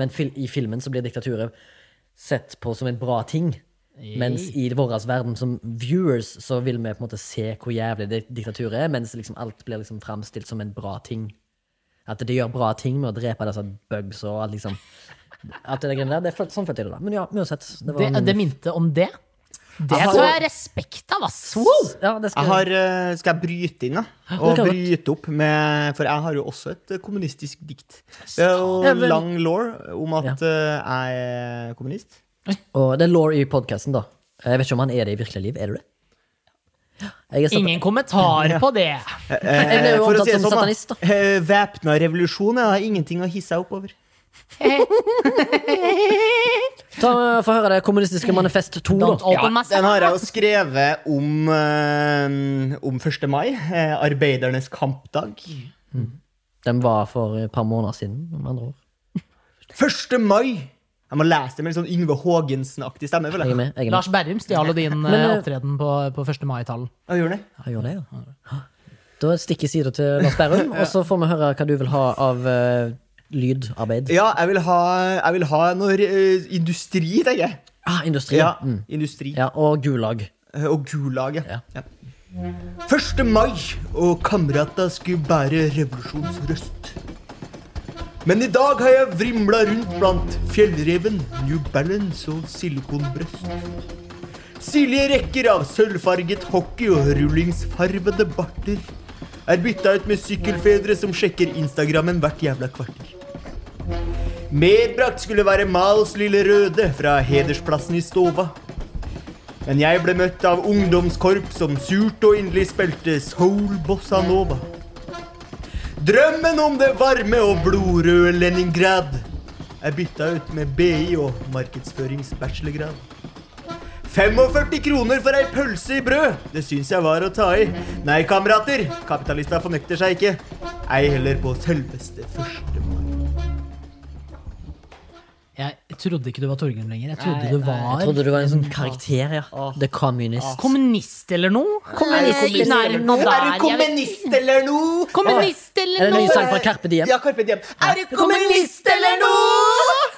[SPEAKER 1] Men fil i filmen så blir diktaturet sett på som en bra ting. Mens i vår verden som viewers så vil vi på en måte se hvor jævlig det diktaturet er, mens liksom alt blir liksom framstilt som en bra ting. At de gjør bra ting med å drepe disse bugs og alt liksom. At det greiene der, det er fl- Sånn følte jeg det, da. Men ja, uansett. Det var
[SPEAKER 3] Det,
[SPEAKER 1] min-
[SPEAKER 3] det minte om det. Det
[SPEAKER 2] Jeg har-
[SPEAKER 3] tror jeg er respekt av, ass.
[SPEAKER 1] ja, det skal
[SPEAKER 2] Jeg har, eh, skal jeg bryte inn, da? Og
[SPEAKER 1] kan godt.
[SPEAKER 2] bryte opp med For jeg har jo også et eh, kommunistisk dikt. Det er
[SPEAKER 1] Ja,
[SPEAKER 2] jo
[SPEAKER 1] vel.
[SPEAKER 2] lang law om at eh, jeg er kommunist.
[SPEAKER 1] Og det er Laure i podkasten, da. Jeg vet ikke om han er det i virkelig liv. Er du det? Jeg er satan-
[SPEAKER 3] Ingen kommentar på det.
[SPEAKER 1] jeg ble jo
[SPEAKER 2] For å si
[SPEAKER 1] omtalt
[SPEAKER 2] det
[SPEAKER 1] som
[SPEAKER 2] sånn,
[SPEAKER 1] satanist,
[SPEAKER 2] da.
[SPEAKER 1] da.
[SPEAKER 2] eh, Væpna revolusjon jeg har ingenting å hisse seg opp over.
[SPEAKER 1] Ta, Få høre det kommunistiske manifest 2, da.
[SPEAKER 3] Don't open my
[SPEAKER 2] Den har jeg jo skrevet om, eh, om 1. mai. eh, Arbeidernes kampdag.
[SPEAKER 1] Den var for et par måneder siden, om andre år.
[SPEAKER 2] 1. mai! Jeg må lese det med litt sånn Yngve Haagensen-aktig stemme. føler
[SPEAKER 1] Jeg er
[SPEAKER 2] jeg.
[SPEAKER 1] med. Jeg er med.
[SPEAKER 3] Lars Berrum stjal jo din eh,
[SPEAKER 1] Men, eh,
[SPEAKER 3] opptreden på, på 1. mai-tallen.
[SPEAKER 2] Ja, gjør det.
[SPEAKER 1] Ja, gjør det, ja. Da stikker sida til Lars Berrum,
[SPEAKER 3] *laughs*
[SPEAKER 1] og så får vi høre hva du vil ha av eh, lydarbeid.
[SPEAKER 2] Ja, jeg vil ha, jeg vil ha noe eh, industri, tenker jeg.
[SPEAKER 1] Ah, industri.
[SPEAKER 2] Ja,
[SPEAKER 1] Ja. Mm.
[SPEAKER 2] industri.
[SPEAKER 1] ja, og gulag.
[SPEAKER 2] Eh, Og Gulag, ja. ja. 1. mai, og kamerata skulle bære revolusjonsrøst. Men i dag har jeg vrimla rundt blant fjellreven, New Balance og silikonbrøst. Sirlige rekker av sølvfarget hockey og rullingsfarvede barter er bytta ut med sykkelfedre som sjekker Instagrammen hvert jævla kvarter. Medbrakt skulle være Mals lille røde fra hedersplassen i Stova. Men jeg ble møtt av ungdomskorp som surt og inderlig spilte soul bossa nova. Drømmen om det varme og blodrøde Leningrad er bytta ut med BI og markedsføringsbachelorgrad. 45 kroner for ei pølse i brød! Det syns jeg var å ta i. Nei, kamerater, kapitalista fornekter seg ikke. Ei heller på selveste første mai.
[SPEAKER 3] Jeg trodde ikke du var Torgrim lenger. Jeg trodde
[SPEAKER 1] Nei,
[SPEAKER 3] du var
[SPEAKER 1] Jeg trodde du var en sånn karakter, ja. The Communist.
[SPEAKER 3] kommunist eller noe.
[SPEAKER 2] Eh,
[SPEAKER 1] kommunist
[SPEAKER 3] Nei, i
[SPEAKER 1] eller
[SPEAKER 3] nærheten av der, jeg vet-
[SPEAKER 2] eller noe?
[SPEAKER 3] Kommunist
[SPEAKER 1] Er
[SPEAKER 3] eller
[SPEAKER 1] det en ny
[SPEAKER 3] noe?
[SPEAKER 1] sang fra Carpe Diem?
[SPEAKER 2] Ja, Carpe Diem. Er du
[SPEAKER 3] kommunist eller
[SPEAKER 2] noe?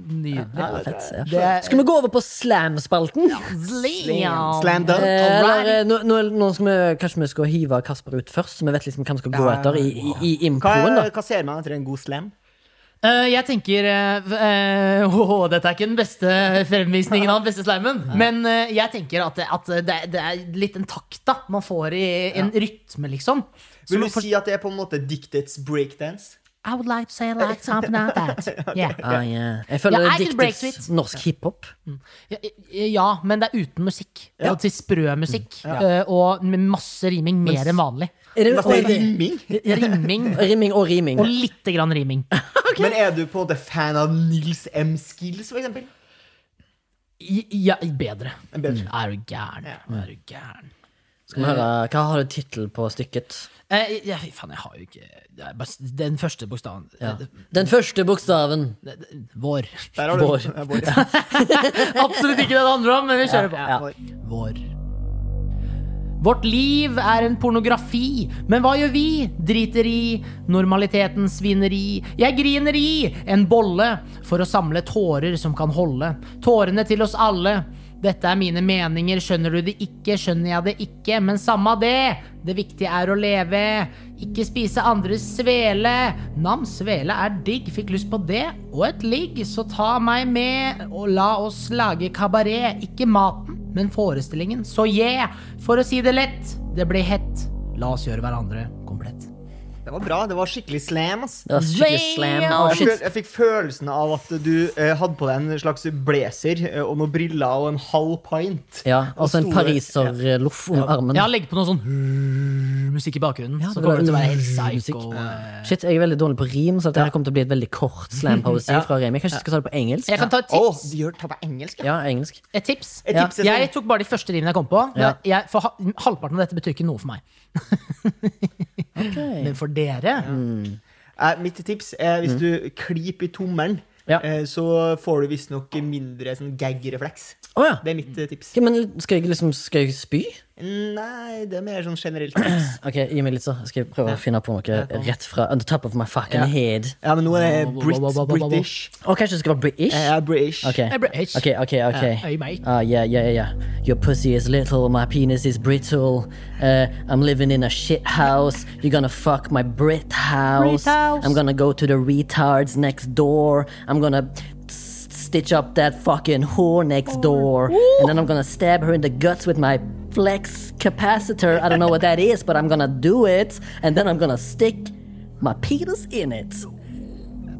[SPEAKER 3] Nydelig.
[SPEAKER 1] Ja, fett, ja. Skal vi gå over på slam-spalten?
[SPEAKER 3] Slam.
[SPEAKER 2] Slam dunk.
[SPEAKER 1] Eh,
[SPEAKER 3] Alright.
[SPEAKER 1] Eller, eh, nå, nå, nå skal vi, kanskje vi skal hive Kasper ut først, så vi vet liksom hva vi skal gå etter i, i, i
[SPEAKER 2] Hva,
[SPEAKER 1] improen. da
[SPEAKER 2] hva ser man etter en god slam?
[SPEAKER 3] Eh, jeg tenker eh, v- eh, *laughs* åh, Dette er ikke den beste fremvisningen av den beste slimen, men eh, jeg tenker at, at det, er- det er litt en takt da man får i en rytme, liksom. Så
[SPEAKER 2] Vil
[SPEAKER 3] man
[SPEAKER 2] du
[SPEAKER 3] får-
[SPEAKER 2] si at det er på en måte diktets breakdance?
[SPEAKER 3] I would like to say like something like
[SPEAKER 1] *laughs*
[SPEAKER 3] that. Yeah.
[SPEAKER 1] Ah, yeah. Jeg føler det
[SPEAKER 3] Ja, I
[SPEAKER 1] er
[SPEAKER 3] can break
[SPEAKER 1] diktets
[SPEAKER 3] sweet.
[SPEAKER 1] norsk hiphop.
[SPEAKER 3] Ja, ja, men det er uten musikk.
[SPEAKER 2] Ja.
[SPEAKER 3] Og til sprø musikk. eh, Og med masse riming. Mer enn vanlig.
[SPEAKER 1] Er det,
[SPEAKER 2] Altså,
[SPEAKER 1] og,
[SPEAKER 2] rimming?
[SPEAKER 3] Rimming
[SPEAKER 1] rimming og riming.
[SPEAKER 3] og lite grann riming.
[SPEAKER 2] Men er du på en måte fan av Nils M. Skills, for eksempel?
[SPEAKER 3] I- Ja, bedre.
[SPEAKER 2] Bedre.
[SPEAKER 3] Er du gæren? Er du gæren?
[SPEAKER 1] Skal vi høre, hva har du tittel på stykket?
[SPEAKER 3] Eh, ja, fy faen, jeg har jo ikke det er bare s- Den første bokstaven.
[SPEAKER 1] Ja.
[SPEAKER 3] Eh,
[SPEAKER 1] Den første bokstaven.
[SPEAKER 3] det- det- Vår.
[SPEAKER 2] Der har du
[SPEAKER 1] Vår.
[SPEAKER 2] Ja, Vår.
[SPEAKER 3] Absolutt ikke det det handler om, men vi kjører på.
[SPEAKER 1] Ja.
[SPEAKER 2] Vår.
[SPEAKER 3] Vår. Vårt liv er en pornografi, men hva gjør vi? Driter i normalitetens svineri. Jeg griner i en bolle for å samle tårer som kan holde. Tårene til oss alle. Dette er mine meninger, skjønner du det ikke, skjønner jeg det ikke, men samme av det. Det viktige er å leve. Ikke spise andres svele. Nam, svele er digg, fikk lyst på det. Og et ligg, så ta meg med, og la oss lage kabaret. Ikke maten, men forestillingen. Så yeah! For å si det lett, det blir hett. La oss gjøre hverandre komplett.
[SPEAKER 2] Det var bra. Det var skikkelig slam. ass.
[SPEAKER 1] Det var skikkelig slam.
[SPEAKER 3] Damn!
[SPEAKER 1] Oh,
[SPEAKER 2] Jeg, føl,
[SPEAKER 1] shit.
[SPEAKER 2] jeg fikk følelsen av at du eh, hadde på deg en slags blazer eh, og noen briller og en halv pint.
[SPEAKER 1] Ja, altså en
[SPEAKER 2] store-
[SPEAKER 1] pariserloff om armen.
[SPEAKER 3] Ja, legg på noe sånn musikk i bakgrunnen,
[SPEAKER 1] Ja,
[SPEAKER 3] så
[SPEAKER 1] det
[SPEAKER 3] kommer
[SPEAKER 1] var-
[SPEAKER 3] det til å være helt
[SPEAKER 1] Mm. musikk.
[SPEAKER 3] psycho. eh.
[SPEAKER 1] Shit, jeg er veldig dårlig på rim, så dette her kommer til å bli et veldig kort slam-poesi fra Remi. Kanskje jeg skal ta det på engelsk?
[SPEAKER 3] Jeg kan ta et
[SPEAKER 2] Å,
[SPEAKER 3] tips.
[SPEAKER 2] du gjør det på engelsk, ja.
[SPEAKER 1] Ja, engelsk.
[SPEAKER 3] Et tips.
[SPEAKER 2] Et
[SPEAKER 1] Ja.
[SPEAKER 2] tips jeg
[SPEAKER 3] Jeg
[SPEAKER 2] trenger.
[SPEAKER 3] tok bare de første rimene jeg kom på.
[SPEAKER 1] Ja.
[SPEAKER 3] men Jeg, for ha, halvparten av dette betyr ikke noe for meg. *laughs* Men for dere
[SPEAKER 2] Eh, mitt tips er hvis du kliper i tommelen,
[SPEAKER 1] Mm. Ja.
[SPEAKER 2] eh, så får du visstnok mindre sånn gag-refleks.
[SPEAKER 1] Å ja.
[SPEAKER 2] Det er mitt eh, tips.
[SPEAKER 1] Ok, Men skal jeg liksom skal jeg spy?
[SPEAKER 2] Nei, det er mer sånn generelt tips.
[SPEAKER 1] Ok, Gi meg litt, så skal jeg prøve å finne på noe rett fra on the top of my fucking
[SPEAKER 2] Ja.
[SPEAKER 1] head.
[SPEAKER 2] Ja, men nå er det
[SPEAKER 3] Wow, wow,
[SPEAKER 2] Brit,
[SPEAKER 3] wow, wow, wow, wow.
[SPEAKER 2] British.
[SPEAKER 1] Og kanskje det skal være British?
[SPEAKER 2] Jeg er British.
[SPEAKER 1] Ok,
[SPEAKER 3] er British. Uh,
[SPEAKER 1] ok, ok. ok
[SPEAKER 3] Ja, øy meg.
[SPEAKER 1] Ah, yeah, yeah, yeah, yeah. Your pussy is little, my penis is brittle. Uh, I'm living in a shit house. You're gonna fuck my Brit house.
[SPEAKER 3] Brit house.
[SPEAKER 1] I'm gonna go to the retards next door. I'm gonna s- stitch up that fucking whore
[SPEAKER 3] Oh.
[SPEAKER 1] next door. And then I'm gonna stab her in the guts with my flex capacitor. I don't know what that is, but I'm gonna do it. And then I'm gonna stick my penis in it.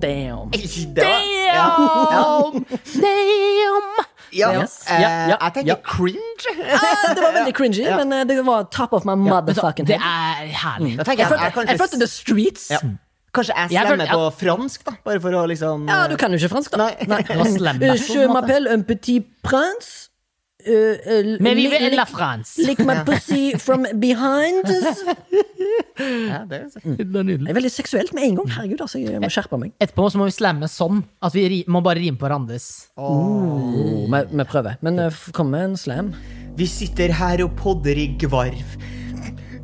[SPEAKER 1] Damn.
[SPEAKER 2] *laughs* Det var- Ja.
[SPEAKER 3] Damn! Damn!
[SPEAKER 2] Ja,
[SPEAKER 1] Yes.
[SPEAKER 2] eh,
[SPEAKER 1] Ja, ja,
[SPEAKER 2] jeg tenker
[SPEAKER 1] ja.
[SPEAKER 2] cringe. *laughs*
[SPEAKER 1] Ja, det var veldig cringy, men eh, det var top of my motherfucking
[SPEAKER 3] Det
[SPEAKER 1] head.
[SPEAKER 3] er herlig.
[SPEAKER 2] Da tenker jeg, jeg,
[SPEAKER 1] Jeg
[SPEAKER 2] kanskje,
[SPEAKER 1] følte the streets.
[SPEAKER 2] ja. kanskje jeg
[SPEAKER 3] Jeg
[SPEAKER 2] slemmer
[SPEAKER 3] følte-
[SPEAKER 2] på fransk, da. Bare for å liksom
[SPEAKER 1] Ja, du kan jo ikke fransk, da.
[SPEAKER 2] Nei.
[SPEAKER 3] Det var slemme,
[SPEAKER 1] Eh,
[SPEAKER 3] på
[SPEAKER 1] Je
[SPEAKER 3] en måte.
[SPEAKER 1] m'appelle un petit prince. Uh, uh,
[SPEAKER 3] Men vi
[SPEAKER 1] lick-
[SPEAKER 3] vil la France.
[SPEAKER 1] Lick my pussy from behind. Det
[SPEAKER 2] Ja, det er sant.
[SPEAKER 1] er veldig seksuelt med en gang. Herregud, altså, jeg må skjerpe meg.
[SPEAKER 3] Etterpå så må vi slamme sånn at vi ri, må bare rime på hverandres.
[SPEAKER 1] Oh, vi, vi prøver. Men eh, f- kom med en slam.
[SPEAKER 2] Vi sitter her og podder i gvarv.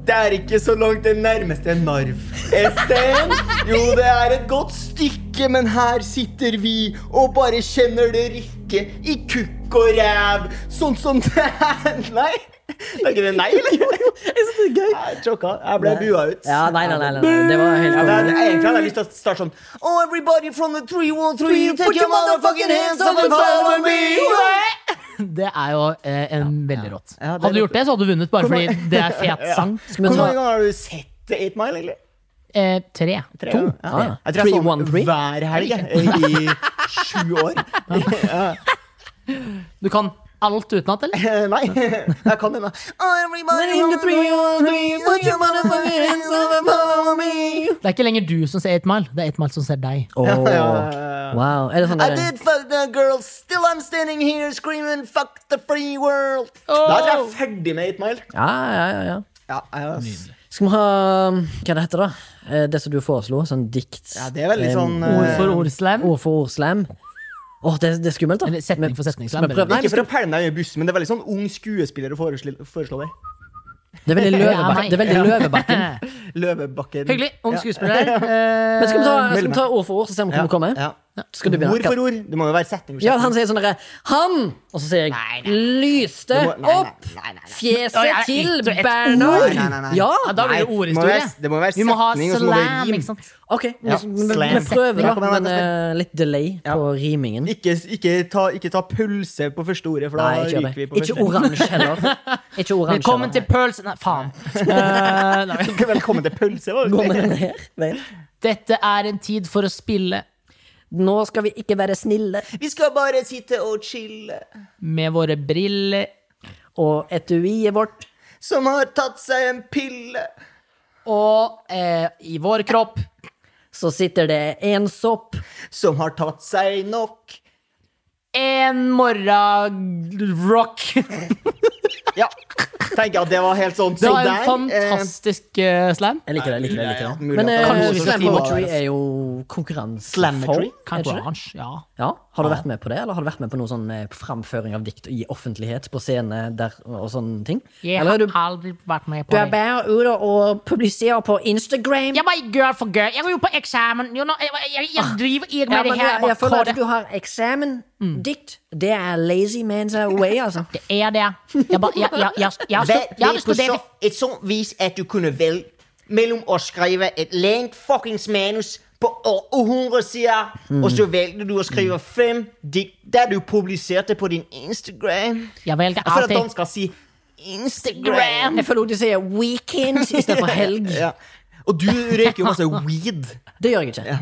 [SPEAKER 2] Det er ikke så langt det nærmeste narv. Esten? Jo, det er et godt stykke, men her sitter vi og bare kjenner det rykke i kukk og ræv. Sånn som *laughs* det er Nei? Det er ikke det nei, eller?
[SPEAKER 1] Jeg synes det er gøy.
[SPEAKER 2] Jeg er sjokka. Jeg ble bua ut.
[SPEAKER 1] Ja, nei, nei, nei, nei, nei. Det var helt
[SPEAKER 2] Ja, det er, egentlig hadde jeg lyst til å starte sånn Oh, everybody from the 313 Take your motherfucking hands up and follow me
[SPEAKER 3] Det er jo eh, en veldig rått.
[SPEAKER 2] Ja, det er
[SPEAKER 3] hadde du
[SPEAKER 2] litt-
[SPEAKER 3] gjort det, så hadde du vunnet, bare fordi det er
[SPEAKER 2] *laughs*
[SPEAKER 3] fet sang.
[SPEAKER 1] vi ta-
[SPEAKER 2] Hvor mange ganger har du sett 8 Mile, egentlig?
[SPEAKER 3] Eh, tre.
[SPEAKER 2] Tre
[SPEAKER 1] To.
[SPEAKER 2] ganger?
[SPEAKER 1] Ah,
[SPEAKER 2] Ja.
[SPEAKER 1] ja.
[SPEAKER 2] Jeg tror jeg så den
[SPEAKER 1] 313?
[SPEAKER 2] hver helg jeg, i sju *laughs* år.
[SPEAKER 3] Du kan alt utenat, eller?
[SPEAKER 2] Nei, jeg kan den da. Oh, everybody
[SPEAKER 1] In
[SPEAKER 2] from
[SPEAKER 1] the
[SPEAKER 2] the 313 Put your motherfucking hands up and follow me
[SPEAKER 3] Det er ikke lenger du som ser 8 Mile, det er 8 Mile som ser deg.
[SPEAKER 1] Åh.
[SPEAKER 2] Ja, ja, ja.
[SPEAKER 1] Wow. Er det sånn
[SPEAKER 2] I
[SPEAKER 1] der-
[SPEAKER 2] did fuck the girl, still I'm standing here screaming fuck the free world. Da er jeg ferdig med 8 Mile.
[SPEAKER 1] Ja, ja, ja. ja.
[SPEAKER 2] Ja, jeg,
[SPEAKER 1] Skal vi ha um, Hva det heter det? Eh, Det som du foreslo? Sånn dikt?
[SPEAKER 2] ja, det er veldig
[SPEAKER 1] eh,
[SPEAKER 2] sånn
[SPEAKER 3] Ord
[SPEAKER 2] eh,
[SPEAKER 3] for ord-slam.
[SPEAKER 1] Ord for ord-slam? Åh, det, det er skummelt, da.
[SPEAKER 3] Eller setning for setning-slam.
[SPEAKER 1] Men prøv-
[SPEAKER 3] eller?
[SPEAKER 1] Nei,
[SPEAKER 2] Ikke for å pælme deg i bussen, men det er veldig sånn ung skuespiller å foreslå, foreslå det.
[SPEAKER 1] Det er veldig
[SPEAKER 3] Ja,
[SPEAKER 1] løvebakken.
[SPEAKER 3] nei.
[SPEAKER 1] Det er veldig løvebakken.
[SPEAKER 2] Løvebakken.
[SPEAKER 3] Hyggelig. Ung
[SPEAKER 2] Ja. *laughs*
[SPEAKER 3] skuespiller. Eh,
[SPEAKER 1] Men skal vi, ta, skal vi ta ord for ord, så ser vi
[SPEAKER 2] Ja,
[SPEAKER 1] hvor vi kommer?
[SPEAKER 2] ja.
[SPEAKER 1] Skal du begynne?
[SPEAKER 2] Ord for ord. Det må jo være setning for
[SPEAKER 1] Ja,
[SPEAKER 2] setning.
[SPEAKER 1] han sier sånn derre Han! Og så sier
[SPEAKER 3] Nei,
[SPEAKER 1] jeg
[SPEAKER 3] nei.
[SPEAKER 1] lyste
[SPEAKER 2] Du må- nei, nei,
[SPEAKER 1] opp
[SPEAKER 2] nei, nei, nei.
[SPEAKER 3] Oi,
[SPEAKER 1] fjeset
[SPEAKER 3] er det
[SPEAKER 1] til
[SPEAKER 3] ett og ett
[SPEAKER 2] ord?
[SPEAKER 1] Bernhard.
[SPEAKER 2] Nei, nei, nei.
[SPEAKER 1] Ja!
[SPEAKER 3] ja, da blir det
[SPEAKER 2] Nei, det må
[SPEAKER 3] ordhistorie.
[SPEAKER 2] være- det må være
[SPEAKER 3] vi må ha
[SPEAKER 2] setning, og så må det
[SPEAKER 3] slam,
[SPEAKER 2] rim.
[SPEAKER 3] ikke sant?
[SPEAKER 1] OK, men-
[SPEAKER 2] Ja,
[SPEAKER 1] men- men
[SPEAKER 2] slam.
[SPEAKER 1] vi prøver,
[SPEAKER 2] Ja, kom
[SPEAKER 1] da.
[SPEAKER 2] igjen,
[SPEAKER 1] Men eh, litt delay på rimingen.
[SPEAKER 2] Ikke, ikke, ta, ikke ta pølse på første ordet, for da
[SPEAKER 1] Nei, ikke gjør
[SPEAKER 2] ryker vi
[SPEAKER 1] det.
[SPEAKER 2] på
[SPEAKER 1] Ikke
[SPEAKER 2] første.
[SPEAKER 1] oransje
[SPEAKER 2] *laughs*
[SPEAKER 1] heller. Ikke oransje
[SPEAKER 3] Velkommen
[SPEAKER 1] heller.
[SPEAKER 3] til Pearls Nei,
[SPEAKER 1] *laughs*
[SPEAKER 3] faen. Eh, nei, men-
[SPEAKER 2] *laughs* Velkommen til pølse. Var
[SPEAKER 1] Går vi
[SPEAKER 2] det?
[SPEAKER 1] ned her? Vel.
[SPEAKER 3] Dette er en tid for å spille
[SPEAKER 1] Nå skal vi ikke være snille
[SPEAKER 2] Vi skal bare sitte og chille.
[SPEAKER 3] med våre briller
[SPEAKER 1] Og etuiet vårt
[SPEAKER 2] Som har tatt seg en pille.
[SPEAKER 3] og eh, i vår kropp.
[SPEAKER 1] Så sitter det en sopp
[SPEAKER 2] Som har tatt seg nok.
[SPEAKER 3] En morgen
[SPEAKER 1] *laughs*
[SPEAKER 3] rock.
[SPEAKER 2] Ja. Tenker at det var helt sånn.
[SPEAKER 3] Det
[SPEAKER 2] Så
[SPEAKER 3] var en
[SPEAKER 2] der, eh,
[SPEAKER 3] fantastisk eh, slam.
[SPEAKER 1] Jeg liker det, jeg liker det, jeg liker det.
[SPEAKER 2] Mulig
[SPEAKER 1] Men
[SPEAKER 2] at det
[SPEAKER 1] eh,
[SPEAKER 2] var
[SPEAKER 3] Kanskje
[SPEAKER 2] noe som
[SPEAKER 3] skal
[SPEAKER 1] slam
[SPEAKER 2] skulle
[SPEAKER 1] poetry
[SPEAKER 2] være-
[SPEAKER 1] er jo konkurranseform
[SPEAKER 2] Slammetry?
[SPEAKER 1] er det ikke det?
[SPEAKER 3] Kanskje. Ja.
[SPEAKER 1] Ja, Har du vært med på det, eller har du vært med på noe sånn eh, framføring av dikt i offentlighet på scene der, og sånne ting?
[SPEAKER 3] Jeg
[SPEAKER 1] Eller
[SPEAKER 3] har
[SPEAKER 1] er du,
[SPEAKER 3] aldri vært med
[SPEAKER 1] du
[SPEAKER 3] på
[SPEAKER 1] er
[SPEAKER 3] det.
[SPEAKER 1] bare ute og publiserer på Instagram?
[SPEAKER 3] Jeg var i girl for girl. Jeg var jo på eksamen. You know, jeg, jeg, jeg driver
[SPEAKER 1] Ah. Ja,
[SPEAKER 3] ikke med
[SPEAKER 1] men
[SPEAKER 3] det her.
[SPEAKER 1] jeg, jeg føler
[SPEAKER 3] og
[SPEAKER 1] at du har eksamen. Dikt. Det er lazy man's way, altså.
[SPEAKER 3] Det er det. Jeg, bare, jeg, jeg, jeg, jeg, har stu- jeg
[SPEAKER 2] Vær
[SPEAKER 3] hadde
[SPEAKER 2] det Eh, på så,
[SPEAKER 3] studert
[SPEAKER 2] et sånt vis at du kunne velge mellom å skrive et langt fuckings manus på århundre sider,
[SPEAKER 3] Mm.
[SPEAKER 2] og så valgte du å skrive fem dikt der du publiserte på din Instagram.
[SPEAKER 3] Jeg velger
[SPEAKER 2] Jeg føler at
[SPEAKER 3] alltid-
[SPEAKER 2] dansker sier Instagram.
[SPEAKER 1] Jeg føler også de sier weekend istedenfor helg.
[SPEAKER 2] Ja. Og du røyker jo masse weed.
[SPEAKER 1] Det gjør jeg ikke.
[SPEAKER 2] Ja.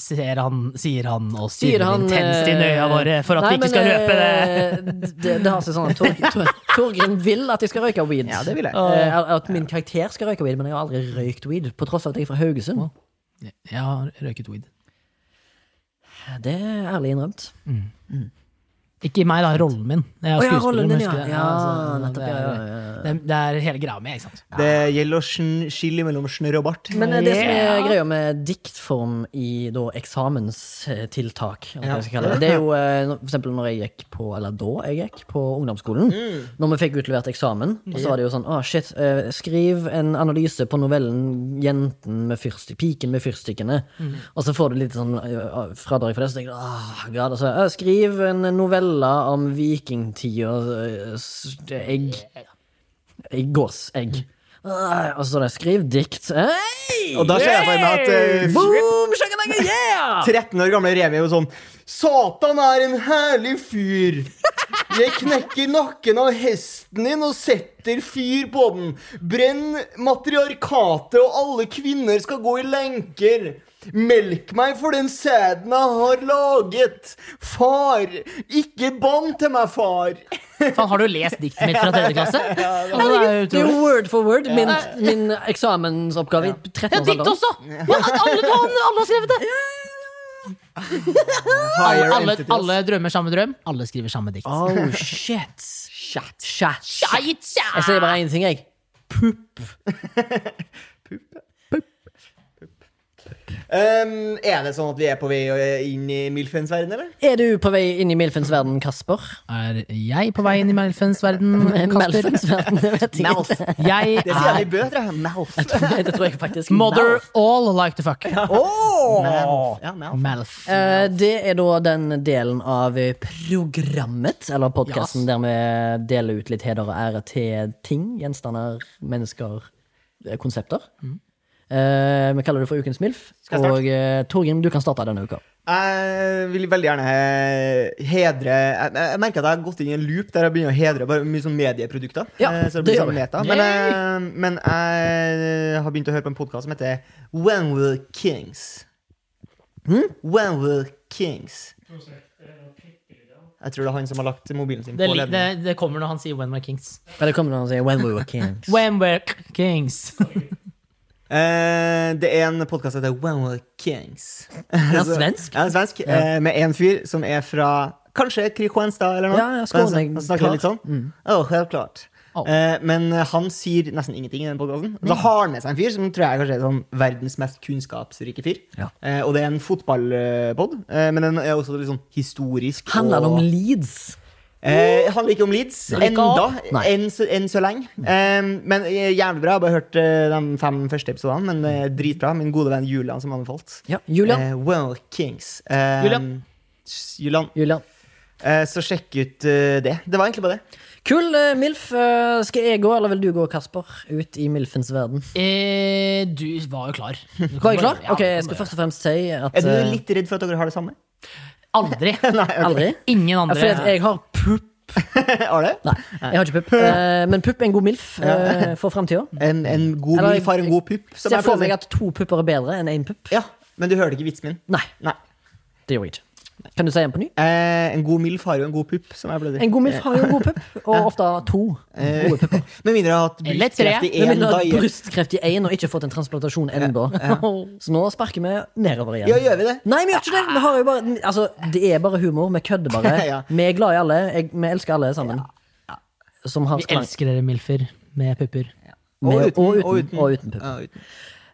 [SPEAKER 3] Sier han, sier han og
[SPEAKER 1] Sier
[SPEAKER 3] stirrer
[SPEAKER 1] han eh,
[SPEAKER 3] intenst inn i øya våre for at
[SPEAKER 1] nei,
[SPEAKER 3] vi ikke skal røpe det.
[SPEAKER 1] røpe det. Det, det har seg sånn at Tor, Tor, Torgrim vil at jeg skal røyke weed.
[SPEAKER 2] Ja, det vil jeg.
[SPEAKER 1] Eh, at min karakter skal røyke weed, men jeg har aldri røykt weed. På tross av at jeg er fra Haugesund. eh,
[SPEAKER 3] Jeg har røyket weed.
[SPEAKER 1] Det er ærlig innrømt.
[SPEAKER 3] Ikke meg, da. Rollen min. Jeg er
[SPEAKER 1] Å ja,
[SPEAKER 3] skuespiller,
[SPEAKER 1] rollen
[SPEAKER 3] men
[SPEAKER 1] din, ja.
[SPEAKER 3] husker det.
[SPEAKER 1] Ja,
[SPEAKER 3] altså,
[SPEAKER 1] nettopp,
[SPEAKER 3] det,
[SPEAKER 1] ja,
[SPEAKER 3] er, Det, er, det er hele greia med, ikke sant.
[SPEAKER 2] Det gjelder å sn- skille mellom snørr og bart.
[SPEAKER 1] Men eh, det som er
[SPEAKER 3] Yeah.
[SPEAKER 1] greia med diktform i da, eksamenstiltak, eller hva jeg skal kalle det, det
[SPEAKER 2] *laughs*
[SPEAKER 1] er jo eh, når- for eksempel når jeg gikk på, eller da jeg gikk på ungdomsskolen,
[SPEAKER 2] Mm.
[SPEAKER 1] når vi fikk utlevert eksamen, og så var det jo sånn, ah shit, eh, skriv en analyse på novellen Jenten med fyrsti, piken med fyrstikkene,
[SPEAKER 2] Mm.
[SPEAKER 1] og så får du litt sånn eh, fradrag for det, så tenker du, ah, god, altså, eh, skriv en novelle om vikingtida, eh, s- egg, egg, gås, egg. Ah, Og så står det 'skriv dikt'. eh, Hey!
[SPEAKER 2] Mm. Og da ser jeg for meg at eh,
[SPEAKER 1] Boom! shakalaka, Yeah!
[SPEAKER 2] 13 år gamle Remi er jo sånn Satan er en herlig fyr. Jeg knekker nakken av hesten din og setter fyr på den. Brenn matriarkatet, og alle kvinner skal gå i lenker. Melk meg for den sæden jeg har laget. Far, ikke bann til meg, far.
[SPEAKER 3] Faen, har du lest diktet mitt
[SPEAKER 1] *laughs*
[SPEAKER 3] fra tredje klasse? Altså, det er jo
[SPEAKER 1] Herregud, Det er
[SPEAKER 3] utrolig.
[SPEAKER 1] jo word for word min, min eksamensoppgave i
[SPEAKER 3] Det er
[SPEAKER 1] 13
[SPEAKER 3] dikt også! Men at Alle, kan, alle har skrevet det!
[SPEAKER 2] Higher
[SPEAKER 3] Alle, alle,
[SPEAKER 2] entities.
[SPEAKER 3] alle drømmer samme drøm. Alle skriver samme
[SPEAKER 1] *laughs*
[SPEAKER 3] dikt.
[SPEAKER 1] Oh, shit. Shit, shit, shit.
[SPEAKER 3] Shit, shit.
[SPEAKER 1] Jeg sier bare én ting, jeg.
[SPEAKER 2] Um, er det sånn at vi er på vei eh, inn i Milfens verden, eller?
[SPEAKER 1] Er du på vei inn i Milfens verden, Kasper?
[SPEAKER 3] Er jeg på vei inn i Melfens verden,
[SPEAKER 1] *laughs*
[SPEAKER 3] Kasper?
[SPEAKER 1] Melfens verden, det vet jeg
[SPEAKER 2] Mouth.
[SPEAKER 1] ikke. *laughs*
[SPEAKER 3] Jeg
[SPEAKER 2] Det sier
[SPEAKER 3] er
[SPEAKER 2] de i Bø, tror jeg. Mouth.
[SPEAKER 1] Det tror jeg faktisk
[SPEAKER 3] mother all like to fuck.
[SPEAKER 2] Oh. Ja, mouth.
[SPEAKER 3] Melf.
[SPEAKER 1] Eh, Det er da den delen av programmet, eller podkasten,
[SPEAKER 3] Yes.
[SPEAKER 1] der vi deler ut litt heder og ære til ting, gjenstander, mennesker, eh, konsepter. Eh, vi kaller det for Ukens MILF.
[SPEAKER 2] jeg starte?
[SPEAKER 1] Og uh, Torgrim, du kan starte denne uka.
[SPEAKER 2] Jeg vil veldig gjerne he- hedre Jeg, jeg jeg merker at jeg har gått inn i en loop der jeg begynner å hedre bare mye sånn medieprodukter.
[SPEAKER 1] Ja,
[SPEAKER 2] Eh, så
[SPEAKER 1] det
[SPEAKER 2] blir
[SPEAKER 1] gjør
[SPEAKER 2] sånn
[SPEAKER 1] vi.
[SPEAKER 2] meta. Men, jeg, men jeg har begynt å høre på en podkast som heter When Will Kings. Hm? When Will Kings. Jeg tror det er han som har lagt mobilen sin
[SPEAKER 3] Det,
[SPEAKER 2] på
[SPEAKER 3] li- det,
[SPEAKER 2] ledningen.
[SPEAKER 3] det kommer når han sier 'When We're Kings'.
[SPEAKER 1] Men det kommer noen som sier When We Were Kings.
[SPEAKER 3] When We're k- Kings.
[SPEAKER 2] Eh, det er en podkast som heter When Will Kings.
[SPEAKER 1] er
[SPEAKER 2] *laughs* Så-
[SPEAKER 1] svensk?
[SPEAKER 2] Ja, en svensk eh, med en fyr som er fra kanskje Kristianstad eller noe.
[SPEAKER 1] Ja, ja, Skåne, Mm.
[SPEAKER 2] Men Han snakker
[SPEAKER 1] klart.
[SPEAKER 2] litt sånn. Å, helt klart.
[SPEAKER 3] Å.
[SPEAKER 2] Eh, men han sier nesten ingenting i den podkasten.
[SPEAKER 1] Mm.
[SPEAKER 2] Da har han med seg en fyr som tror jeg kanskje er sånn verdens mest kunnskapsrike fyr.
[SPEAKER 1] Ja.
[SPEAKER 2] Eh, og det er en fotballpod, eh, men den er også litt sånn historisk.
[SPEAKER 1] Handler det
[SPEAKER 2] og-
[SPEAKER 1] om Leeds?
[SPEAKER 2] Eh, handler ikke om Leeds
[SPEAKER 1] Nei.
[SPEAKER 2] enda,
[SPEAKER 1] Nei.
[SPEAKER 2] enn så, enn så lenge. Eh, men eh, jævlig bra. Jeg har bare hørt eh, de fem første episodene, men eh, dritbra. Min gode venn Julian som anbefalt.
[SPEAKER 1] Ja. Julian.
[SPEAKER 2] Eh, well, Kings. Eh,
[SPEAKER 3] Julian.
[SPEAKER 2] s- Julian.
[SPEAKER 1] Julian.
[SPEAKER 2] Eh, så sjekk ut eh, det. Det var egentlig bare det.
[SPEAKER 1] Kul, eh, MILF. eh, skal jeg gå, eller vil du gå, Kasper? Ut i MILFens verden.
[SPEAKER 3] Eh, du var jo klar.
[SPEAKER 1] Var jeg
[SPEAKER 3] Du kan bare-
[SPEAKER 1] klar?
[SPEAKER 3] Ja,
[SPEAKER 1] Ok, Jeg
[SPEAKER 3] du
[SPEAKER 1] skal
[SPEAKER 3] kan
[SPEAKER 1] først og fremst si at
[SPEAKER 2] Er du
[SPEAKER 1] eh,
[SPEAKER 2] litt redd for at dere har det samme? *laughs*
[SPEAKER 3] bare- Aldri.
[SPEAKER 2] Nei, ok.
[SPEAKER 1] Aldri.
[SPEAKER 3] Ingen andre.
[SPEAKER 1] Ja, fordi at jeg har pupp
[SPEAKER 2] Har det?
[SPEAKER 1] Nei, jeg har ikke pupp. Eh, men pupp er en god milf eh, for framtida.
[SPEAKER 2] En, en god
[SPEAKER 1] Eller-
[SPEAKER 2] mil har en god pupp. som
[SPEAKER 1] Ser
[SPEAKER 2] jeg
[SPEAKER 1] for meg
[SPEAKER 2] pleier å
[SPEAKER 1] at to pupper er bedre enn én pupp.
[SPEAKER 2] si. Ja, Men du hørte ikke vitsen min?
[SPEAKER 1] Nei,
[SPEAKER 2] Nei.
[SPEAKER 1] det gjorde jeg ikke. Kan du si en på ny?
[SPEAKER 2] Eh, en god milf har jo en god pupp. som jeg ble det.
[SPEAKER 1] En god milf har jo en god pupp, og ofte to
[SPEAKER 2] Eh,
[SPEAKER 1] gode
[SPEAKER 2] *laughs*
[SPEAKER 1] pupper.
[SPEAKER 2] Med mindre jeg har hatt
[SPEAKER 3] Eller tre.
[SPEAKER 2] brystkreft
[SPEAKER 1] Med
[SPEAKER 2] i én
[SPEAKER 1] mindre du har
[SPEAKER 2] dag.
[SPEAKER 1] brystkreft i én og ikke fått en transplantasjon ennå. *laughs* Så nå sparker vi nedover
[SPEAKER 2] Ja,
[SPEAKER 1] igjen.
[SPEAKER 2] gjør vi det?
[SPEAKER 1] Nei, vi gjør ikke det! Vi har jo bare, altså, det er bare humor. Vi kødder bare.
[SPEAKER 2] *laughs* Ja.
[SPEAKER 1] Vi er glad i alle. Jeg, vi elsker alle sammen. Som har
[SPEAKER 3] Vi
[SPEAKER 1] skrang.
[SPEAKER 3] elsker dere milfer med pupper.
[SPEAKER 1] Med, og uten,
[SPEAKER 2] og uten.
[SPEAKER 1] og uten pupp.
[SPEAKER 2] Ja, uten.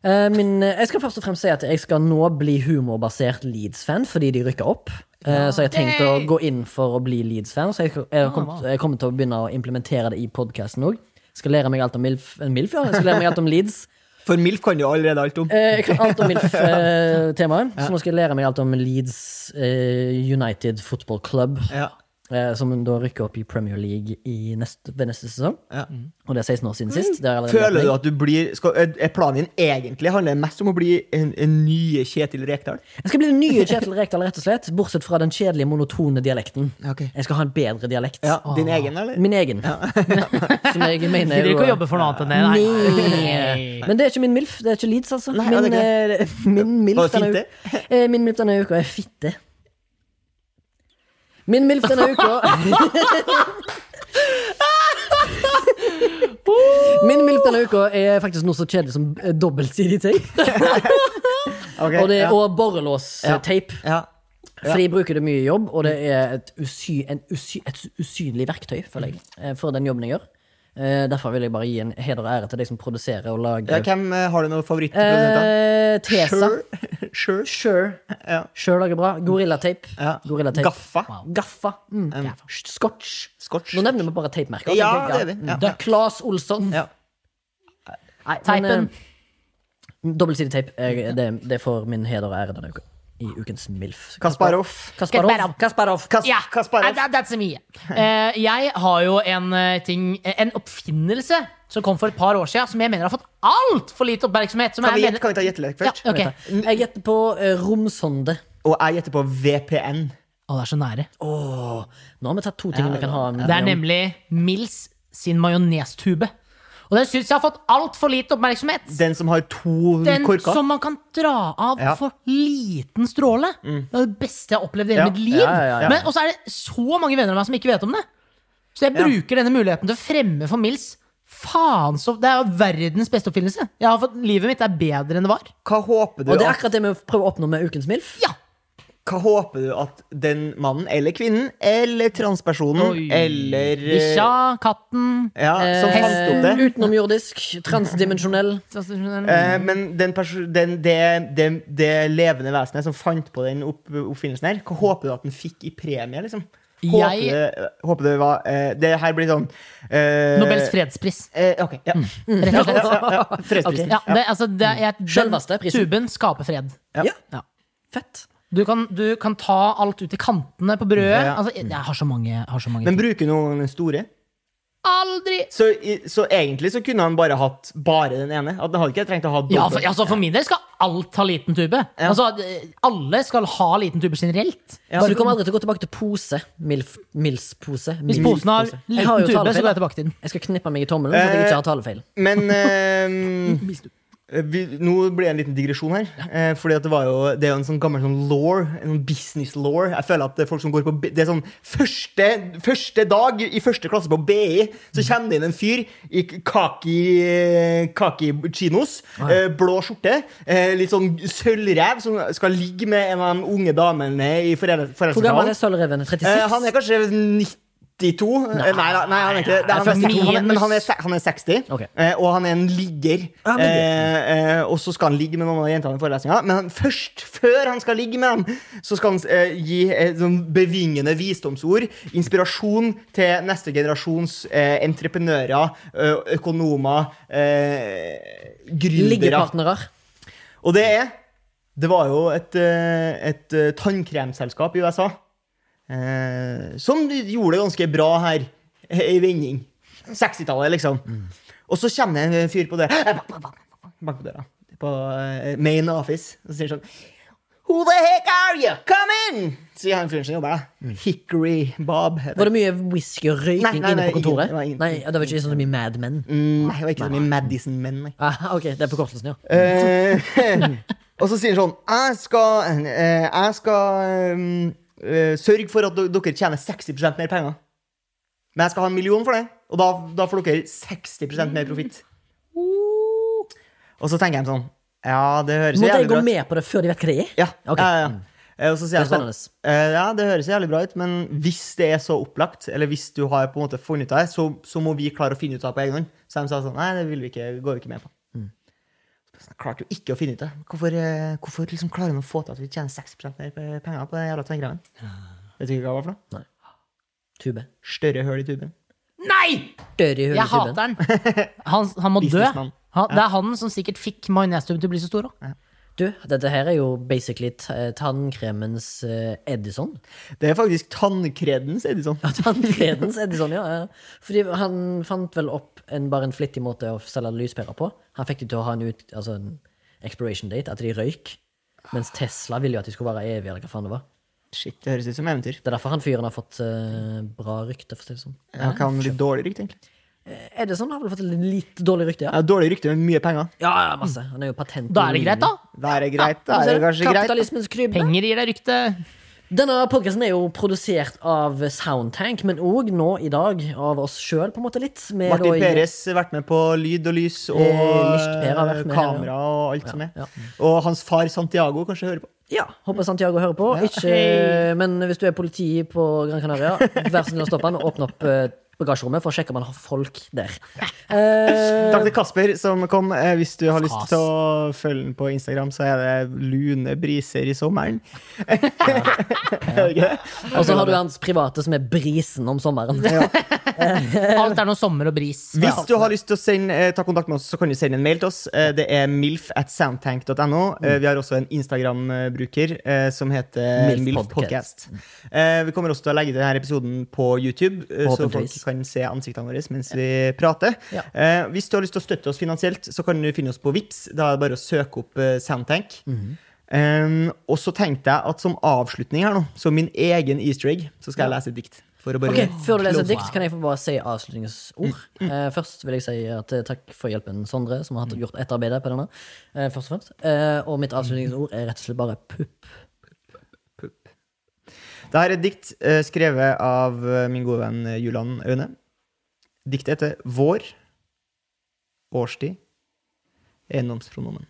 [SPEAKER 1] Eh, Min, eh, jeg skal først og fremst si at jeg skal nå bli humorbasert Leeds-fan fordi de rykker opp. Eh, Så jeg har tenkt å
[SPEAKER 3] Yay!
[SPEAKER 1] gå inn for å bli Leeds-fan. Så jeg, skal-
[SPEAKER 2] Ah,
[SPEAKER 1] jeg, har kommet-
[SPEAKER 3] wow.
[SPEAKER 1] jeg kommer til å begynne å implementere det i podkasten òg. Skal lære meg alt om Milf, eh, Milf ja. Jeg skal lære meg alt om Leeds.
[SPEAKER 2] For milf kan du allerede alt om.
[SPEAKER 1] Eh, Jeg kan alt om
[SPEAKER 2] *laughs*
[SPEAKER 1] Milf-temaet. Så nå skal jeg lære meg alt om Leeds eh, United Football Club.
[SPEAKER 2] Ja.
[SPEAKER 1] eh, som da rykker opp i Premier League i neste, ved neste sesong.
[SPEAKER 2] Ja.
[SPEAKER 1] Og det er 16 år siden sist. Det er allerede
[SPEAKER 2] Føler du
[SPEAKER 1] åpning.
[SPEAKER 2] at du blir skal, er- Er planen din egentlig handler det mest om å bli en, en nye Kjetil Rekdal?
[SPEAKER 1] Jeg skal bli den nye Kjetil Rekdal, rett og slett. Bortsett fra den kjedelige, monotone dialekten.
[SPEAKER 2] Ok.
[SPEAKER 1] Jeg skal ha en bedre dialekt.
[SPEAKER 2] Ja, din egen, eller?
[SPEAKER 1] Min egen. *laughs* Som jeg mener
[SPEAKER 3] Gidder
[SPEAKER 1] jo-
[SPEAKER 3] ikke å jobbe for noe annet enn det,
[SPEAKER 1] Nei. Men det er ikke min MILF. Det er ikke Leeds, altså.
[SPEAKER 2] Nei,
[SPEAKER 1] min,
[SPEAKER 2] det er
[SPEAKER 1] eh, *laughs* min,
[SPEAKER 2] Var
[SPEAKER 1] MILF
[SPEAKER 2] det
[SPEAKER 1] denne, u- *laughs* eh, min MILF denne uka er fitte. Min MILF denne
[SPEAKER 2] *laughs*
[SPEAKER 1] uka *laughs* Min MILF denne uka er faktisk noe så kjedelig som eh, dobbeltsidig tape.
[SPEAKER 2] Ok,
[SPEAKER 1] Og, det-
[SPEAKER 2] ja.
[SPEAKER 1] og borrelås-tape.
[SPEAKER 2] ja.
[SPEAKER 1] For de bruker det mye i jobb, og det er et, usy, en usy, et usynlig verktøy føler jeg, eh, for den jobben jeg gjør. Eh, Derfor vil jeg bare gi en heder og ære til de som produserer og
[SPEAKER 2] ja,
[SPEAKER 1] lager.
[SPEAKER 2] Hvem eh, har du noen favorittprodusenter?
[SPEAKER 1] Eh, Tesa.
[SPEAKER 2] Sure. sure.
[SPEAKER 1] Sure.
[SPEAKER 2] Ja.
[SPEAKER 1] Sure lager bra. Gorillatape.
[SPEAKER 2] Ja.
[SPEAKER 1] Gorillatape.
[SPEAKER 2] Gaffa.
[SPEAKER 1] Gaffa. Mm. Scotch.
[SPEAKER 2] Scotch.
[SPEAKER 1] Nå nevner vi bare tapemerker.
[SPEAKER 2] Ja,
[SPEAKER 1] tenker jeg.
[SPEAKER 2] det er vi. Ja.
[SPEAKER 1] Mm. Claes Olsson.
[SPEAKER 2] Ja.
[SPEAKER 1] Nei,
[SPEAKER 3] Teipen.
[SPEAKER 1] men, eh, Dobbeltsidig teip. Jeg- Det, det får min heder og ære denne uka. I ukens MILF.
[SPEAKER 2] Kasparov.
[SPEAKER 1] Kasparov.
[SPEAKER 2] Kasparov. Kas
[SPEAKER 3] Ja,
[SPEAKER 2] Kasparov.
[SPEAKER 3] that- that's me. Eh, jeg har jo en eh, ting En oppfinnelse som kom for et par år siden, som jeg mener har fått altfor lite oppmerksomhet. Som
[SPEAKER 2] Kan vi, gjette-
[SPEAKER 3] jeg mener...
[SPEAKER 2] kan vi ta gjettelek først?
[SPEAKER 3] Ja, ok.
[SPEAKER 1] Jeg gjetter på eh, romsonde.
[SPEAKER 2] Og jeg gjetter på VPN.
[SPEAKER 3] Å, det er så nære.
[SPEAKER 1] Nå har vi tatt to ting vi kan ha en
[SPEAKER 3] Det er nemlig Mills sin majonestube. Og den syns jeg har fått altfor lite oppmerksomhet.
[SPEAKER 2] Den som har to
[SPEAKER 3] Den
[SPEAKER 2] korker.
[SPEAKER 3] som man kan dra av
[SPEAKER 2] Ja. Mm.
[SPEAKER 3] for liten stråle. Det er det beste jeg har opplevd i hele
[SPEAKER 2] Ja.
[SPEAKER 3] mitt liv.
[SPEAKER 1] Ja, ja, ja.
[SPEAKER 3] Men også er det så mange venner av meg som ikke vet om det. Så jeg
[SPEAKER 2] Ja.
[SPEAKER 3] bruker denne muligheten til å fremme for Mills. Faen så Det er jo verdens beste oppfinnelse. Jeg har fått, livet mitt er bedre enn det var.
[SPEAKER 2] Hva håper du
[SPEAKER 1] Og det er
[SPEAKER 2] at-
[SPEAKER 1] akkurat det vi prøver å oppnå med ukens MILF.
[SPEAKER 3] Ja!
[SPEAKER 2] Hva håper du at den mannen eller kvinnen eller transpersonen
[SPEAKER 3] Oi.
[SPEAKER 2] eller eh,
[SPEAKER 3] Bikkja, katten
[SPEAKER 2] ja, som
[SPEAKER 1] Eh,
[SPEAKER 2] fant opp det
[SPEAKER 1] Utenomjordisk, transdimensjonell.
[SPEAKER 2] eh, Men den perso- den, det, det, det levende vesenet som fant på den opp, oppfinnelsen her, hva håper du at den fikk i premie, liksom? Håper,
[SPEAKER 3] Jeg-
[SPEAKER 2] du, håper du var eh, Det her blir sånn eh,
[SPEAKER 3] Nobels Mm. fredspris.
[SPEAKER 2] eh, ok, ja.
[SPEAKER 3] Rett og slett.
[SPEAKER 2] Ja, ja, ja. *laughs* Fredsprisen.
[SPEAKER 3] Ja, det, altså, det, er- jeg,
[SPEAKER 1] Selveste
[SPEAKER 3] den
[SPEAKER 1] prisen.
[SPEAKER 3] Tuben skaper fred.
[SPEAKER 2] Ja.
[SPEAKER 3] Ja.
[SPEAKER 1] Fett.
[SPEAKER 3] Du, kan, du kan ta alt ut i kantene på brødet.
[SPEAKER 2] Ja.
[SPEAKER 3] Altså, jeg, jeg har så mange, jeg har så mange
[SPEAKER 2] Men
[SPEAKER 3] ting.
[SPEAKER 2] bruker noen gang den store?
[SPEAKER 3] Aldri!
[SPEAKER 2] Så, i- så egentlig så kunne han bare hatt bare den ene? At han hadde ikke trengt å ha dobbelt?
[SPEAKER 3] Ja, for, altså, for min del skal alt ha liten tube. Altså, eh, alle skal ha liten tube generelt.
[SPEAKER 2] Ja.
[SPEAKER 1] Så du kommer aldri til å gå tilbake til pose. Milf, Mils-pose.
[SPEAKER 3] Hvis posen har
[SPEAKER 1] Milf-pose. Jeg
[SPEAKER 3] liten
[SPEAKER 1] har jo
[SPEAKER 3] tube, så
[SPEAKER 1] talefeil,
[SPEAKER 3] går jeg
[SPEAKER 1] da.
[SPEAKER 3] tilbake til den.
[SPEAKER 1] Jeg skal knippe meg i tommelen, så jeg ikke har talefeil. *laughs*
[SPEAKER 2] Men eh, vi, Nå ble det en liten digresjon her. Eh, fordi at det, var jo, det er jo en sånn gammel sånn law, en sånn business law. Jeg føler at det er folk som går på B- Det er sånn første, første dag i første klasse på BI, så
[SPEAKER 1] Mm.
[SPEAKER 2] kommer det inn en fyr i k- kaki, eh, kaki chinos,
[SPEAKER 1] Ah,
[SPEAKER 2] eh, blå skjorte, eh, litt sånn sølvrev, som skal ligge med en av de unge damene i forel-
[SPEAKER 1] Hvor gammel er
[SPEAKER 2] forelskelseshallen.
[SPEAKER 1] Sølvreven? 36?
[SPEAKER 2] Eh, han er kanskje 92. Nei, nei, nei han er ikke det. det. Er han,
[SPEAKER 3] Jeg tror
[SPEAKER 2] mest i to. han, er- men han er,
[SPEAKER 3] minus-
[SPEAKER 2] se- han er 60,
[SPEAKER 1] Ok.
[SPEAKER 2] eh, og han er en ligger.
[SPEAKER 1] han er ligger.
[SPEAKER 2] Eh, eh, og så skal han ligge med noen av jentene i forelesninga, men han, først før han skal ligge med dem, så skal han eh, gi eh, sånn bevingende visdomsord, inspirasjon til neste generasjons eh, entreprenører, eh, økonomer, eh, gründere.
[SPEAKER 1] Liggepartnere.
[SPEAKER 2] Og det er Det var jo et, eh, et eh, tannkremselskap i USA eh, som gjorde det ganske bra her eh, i vending. 60-tallet, liksom. Og så kommer det en fyr på eh, det Bank på døra. På eh, main office. Og så sier han sånn Who the heck are you? Come in! Sier han fyren som jobber der. Hickory Bob. heter
[SPEAKER 1] Var det mye whisky og
[SPEAKER 2] Nei,
[SPEAKER 1] røyking
[SPEAKER 2] nei,
[SPEAKER 1] inne
[SPEAKER 2] nei,
[SPEAKER 1] på kontoret?
[SPEAKER 2] ingen- det var ingen-
[SPEAKER 1] Nei, det var ikke sånn så mye Mad Men.
[SPEAKER 2] Mm, Nei, det var ikke så mye Madison-menn, nei.
[SPEAKER 1] Ah, ok, det er forkortelsen, ja.
[SPEAKER 2] Eh, *laughs* og så sier han sånn Jeg skal, eh, jeg skal ehm, eh, sørge for at do- dere tjener 60 mer penger. Men jeg skal ha en million for det, og da, da får dere 60 mer profitt. Og så tenker jeg sånn Ja, det høres jo
[SPEAKER 1] Måtte jeg
[SPEAKER 2] jævlig
[SPEAKER 1] gå
[SPEAKER 2] bra ut.
[SPEAKER 1] med på det før de vet hva det er?
[SPEAKER 2] Ja,
[SPEAKER 1] Ok.
[SPEAKER 2] ja, ja. Eh, Og så sier jeg
[SPEAKER 1] Det er
[SPEAKER 2] sånn eh, Ja, det høres jævlig bra ut, men hvis det er så opplagt, eller hvis du har på en måte funnet ut av det, så, så må vi klare å finne ut av det på egen hånd. Så de sa sånn Nei, det vil vi ikke, går vi ikke med på. Så jeg klarte jo ikke å finne ut av det. Hvorfor, eh, hvorfor liksom klarer de å få til at vi tjener 6 mer pe- penger på den jævla tannkremen? Vet du ikke hva det var for noe?
[SPEAKER 1] Tube.
[SPEAKER 2] Større høl i tuben.
[SPEAKER 3] Nei!
[SPEAKER 1] Dør i
[SPEAKER 3] Jeg hater
[SPEAKER 1] huletuben.
[SPEAKER 2] *laughs*
[SPEAKER 3] den. Han, han må dø.
[SPEAKER 2] Businessman.
[SPEAKER 3] Han, det er han som sikkert fikk majonestuben til å bli så stor òg.
[SPEAKER 1] Du, dette her er jo basically t- eh, tannkremens eh, *laughs* Edison.
[SPEAKER 2] Det er faktisk tannkredens Edison.
[SPEAKER 1] Tannkremens Edison, ja. ja. Fordi han fant vel opp en, bare en flittig måte å selge lyspærer på. Han fikk det til å ha en, ut, altså en expiration date, at de røyk. Mens Tesla ville jo at de skulle være evige, eller hva faen det var.
[SPEAKER 2] Shit, det høres ut som eventyr.
[SPEAKER 1] Det er derfor han fyren har fått eh, bra rykte. For å si det sånn.
[SPEAKER 2] Ja, hva om litt dårlig rykte, egentlig?
[SPEAKER 1] Edison har vel fått et litt dårlig rykte, ja.
[SPEAKER 2] Ja, dårlig rykte med mye penger.
[SPEAKER 1] Ja, ja, masse. Han er jo patent.
[SPEAKER 3] Da er det greit, da.
[SPEAKER 2] Det er greit, da
[SPEAKER 1] Ser
[SPEAKER 2] er det
[SPEAKER 1] du?
[SPEAKER 2] kanskje greit.
[SPEAKER 1] Altså, Kapitalismens krybbe.
[SPEAKER 3] Penger gir deg rykte.
[SPEAKER 1] Denne podkasten er jo produsert av Soundtank, men òg nå i dag av oss sjøl, på en måte litt. med da
[SPEAKER 2] Martin
[SPEAKER 1] i-
[SPEAKER 2] Peres har vært med på lyd og lys og
[SPEAKER 1] Eh, Lyst Per har vært med her, ja.
[SPEAKER 2] kamera og alt som er.
[SPEAKER 1] ja.
[SPEAKER 2] Og hans far Santiago kanskje hører på.
[SPEAKER 1] Ja, Håper Santiago hører på. Ikke, men hvis du er politi på Gran Canaria, vær så snill å stoppe han og åpne opp eh, bagasjerommet for å sjekke om han har folk der. Eh,
[SPEAKER 2] Takk til Kasper som kom. Eh, Hvis du har lyst
[SPEAKER 3] Kas.
[SPEAKER 2] til å følge den på Instagram, så er det lune briser i sommeren. *laughs* Er det ikke det?
[SPEAKER 1] og så har du hans private, som er brisen om sommeren.
[SPEAKER 3] Alt er nå sommer og bris.
[SPEAKER 2] Hvis du har lyst til å sende, eh, ta kontakt med oss, så kan du sende en mail til oss. Eh, Det er milf at soundtank.no. Eh, Vi har også en Instagram-bruker eh, som heter
[SPEAKER 1] Mm. Milf
[SPEAKER 2] milfpodcast. Eh, Vi kommer også til å legge denne episoden på YouTube, eh, så folk
[SPEAKER 1] Forhåpentligvis.
[SPEAKER 2] kan se ansiktene våre mens vi prater.
[SPEAKER 1] Ja.
[SPEAKER 2] Eh, Hvis du har lyst til å støtte oss finansielt, så kan du finne oss på Vips. Da er det bare å søke opp eh, Soundtank.
[SPEAKER 1] Mm.
[SPEAKER 2] Eh, og så tenkte jeg at som avslutning her nå, som min egen easter egg, så skal jeg lese et dikt. For å bare
[SPEAKER 1] *laughs* Ok, Før du leser et
[SPEAKER 2] close-
[SPEAKER 1] dikt, kan jeg få bare si avslutningsord. Eh, først vil jeg si at eh, takk for hjelpen, Sondre, som har hatt gjort etterarbeidet på denne. eh, først og fremst. Eh, og mitt avslutningsord er rett og slett bare pupp.
[SPEAKER 2] Det her er et dikt eh, skrevet av eh, min gode venn eh, Julian Aune. Diktet heter Vår, årstid, eiendomspronomen.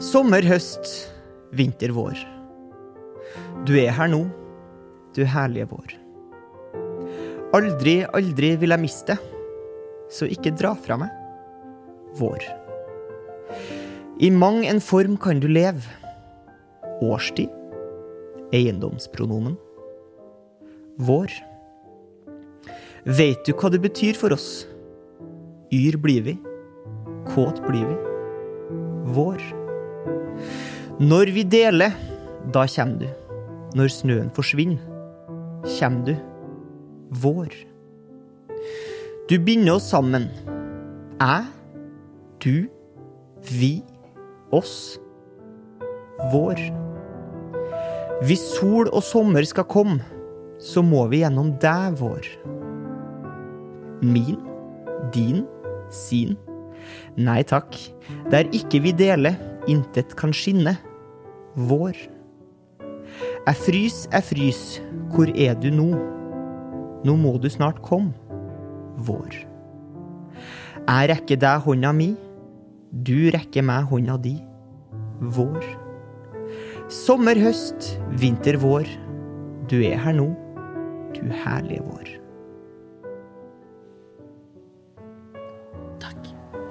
[SPEAKER 2] Sommer, høst, vinter, vår. Du er her nå, du herlige vår. Aldri, aldri vil jeg miste deg, så ikke dra fra meg. Vår. I mang en form kan du leve. Årstid, eiendomspronomen. Vår. Veit du hva det betyr for oss? Yr blir vi, kåt blir vi. Vår. Når vi deler, da kjem du. Når snøen forsvinner, kjem du. Vår. Du binder oss sammen. Jeg, du, vi, oss. Vår. Hvis sol og sommer skal komme, så må vi gjennom deg, vår. Min, din, sin. Nei takk, der ikke vi deler, intet kan skinne. Vår. Jeg frys, jeg frys, hvor er du nå? Nå må du snart komme. Vår. Jeg rekker deg hånda mi, du rekker meg hånda di. Vår. Sommer, høst, vinter, vår. Du er her nå, du herlige vår.
[SPEAKER 1] Takk.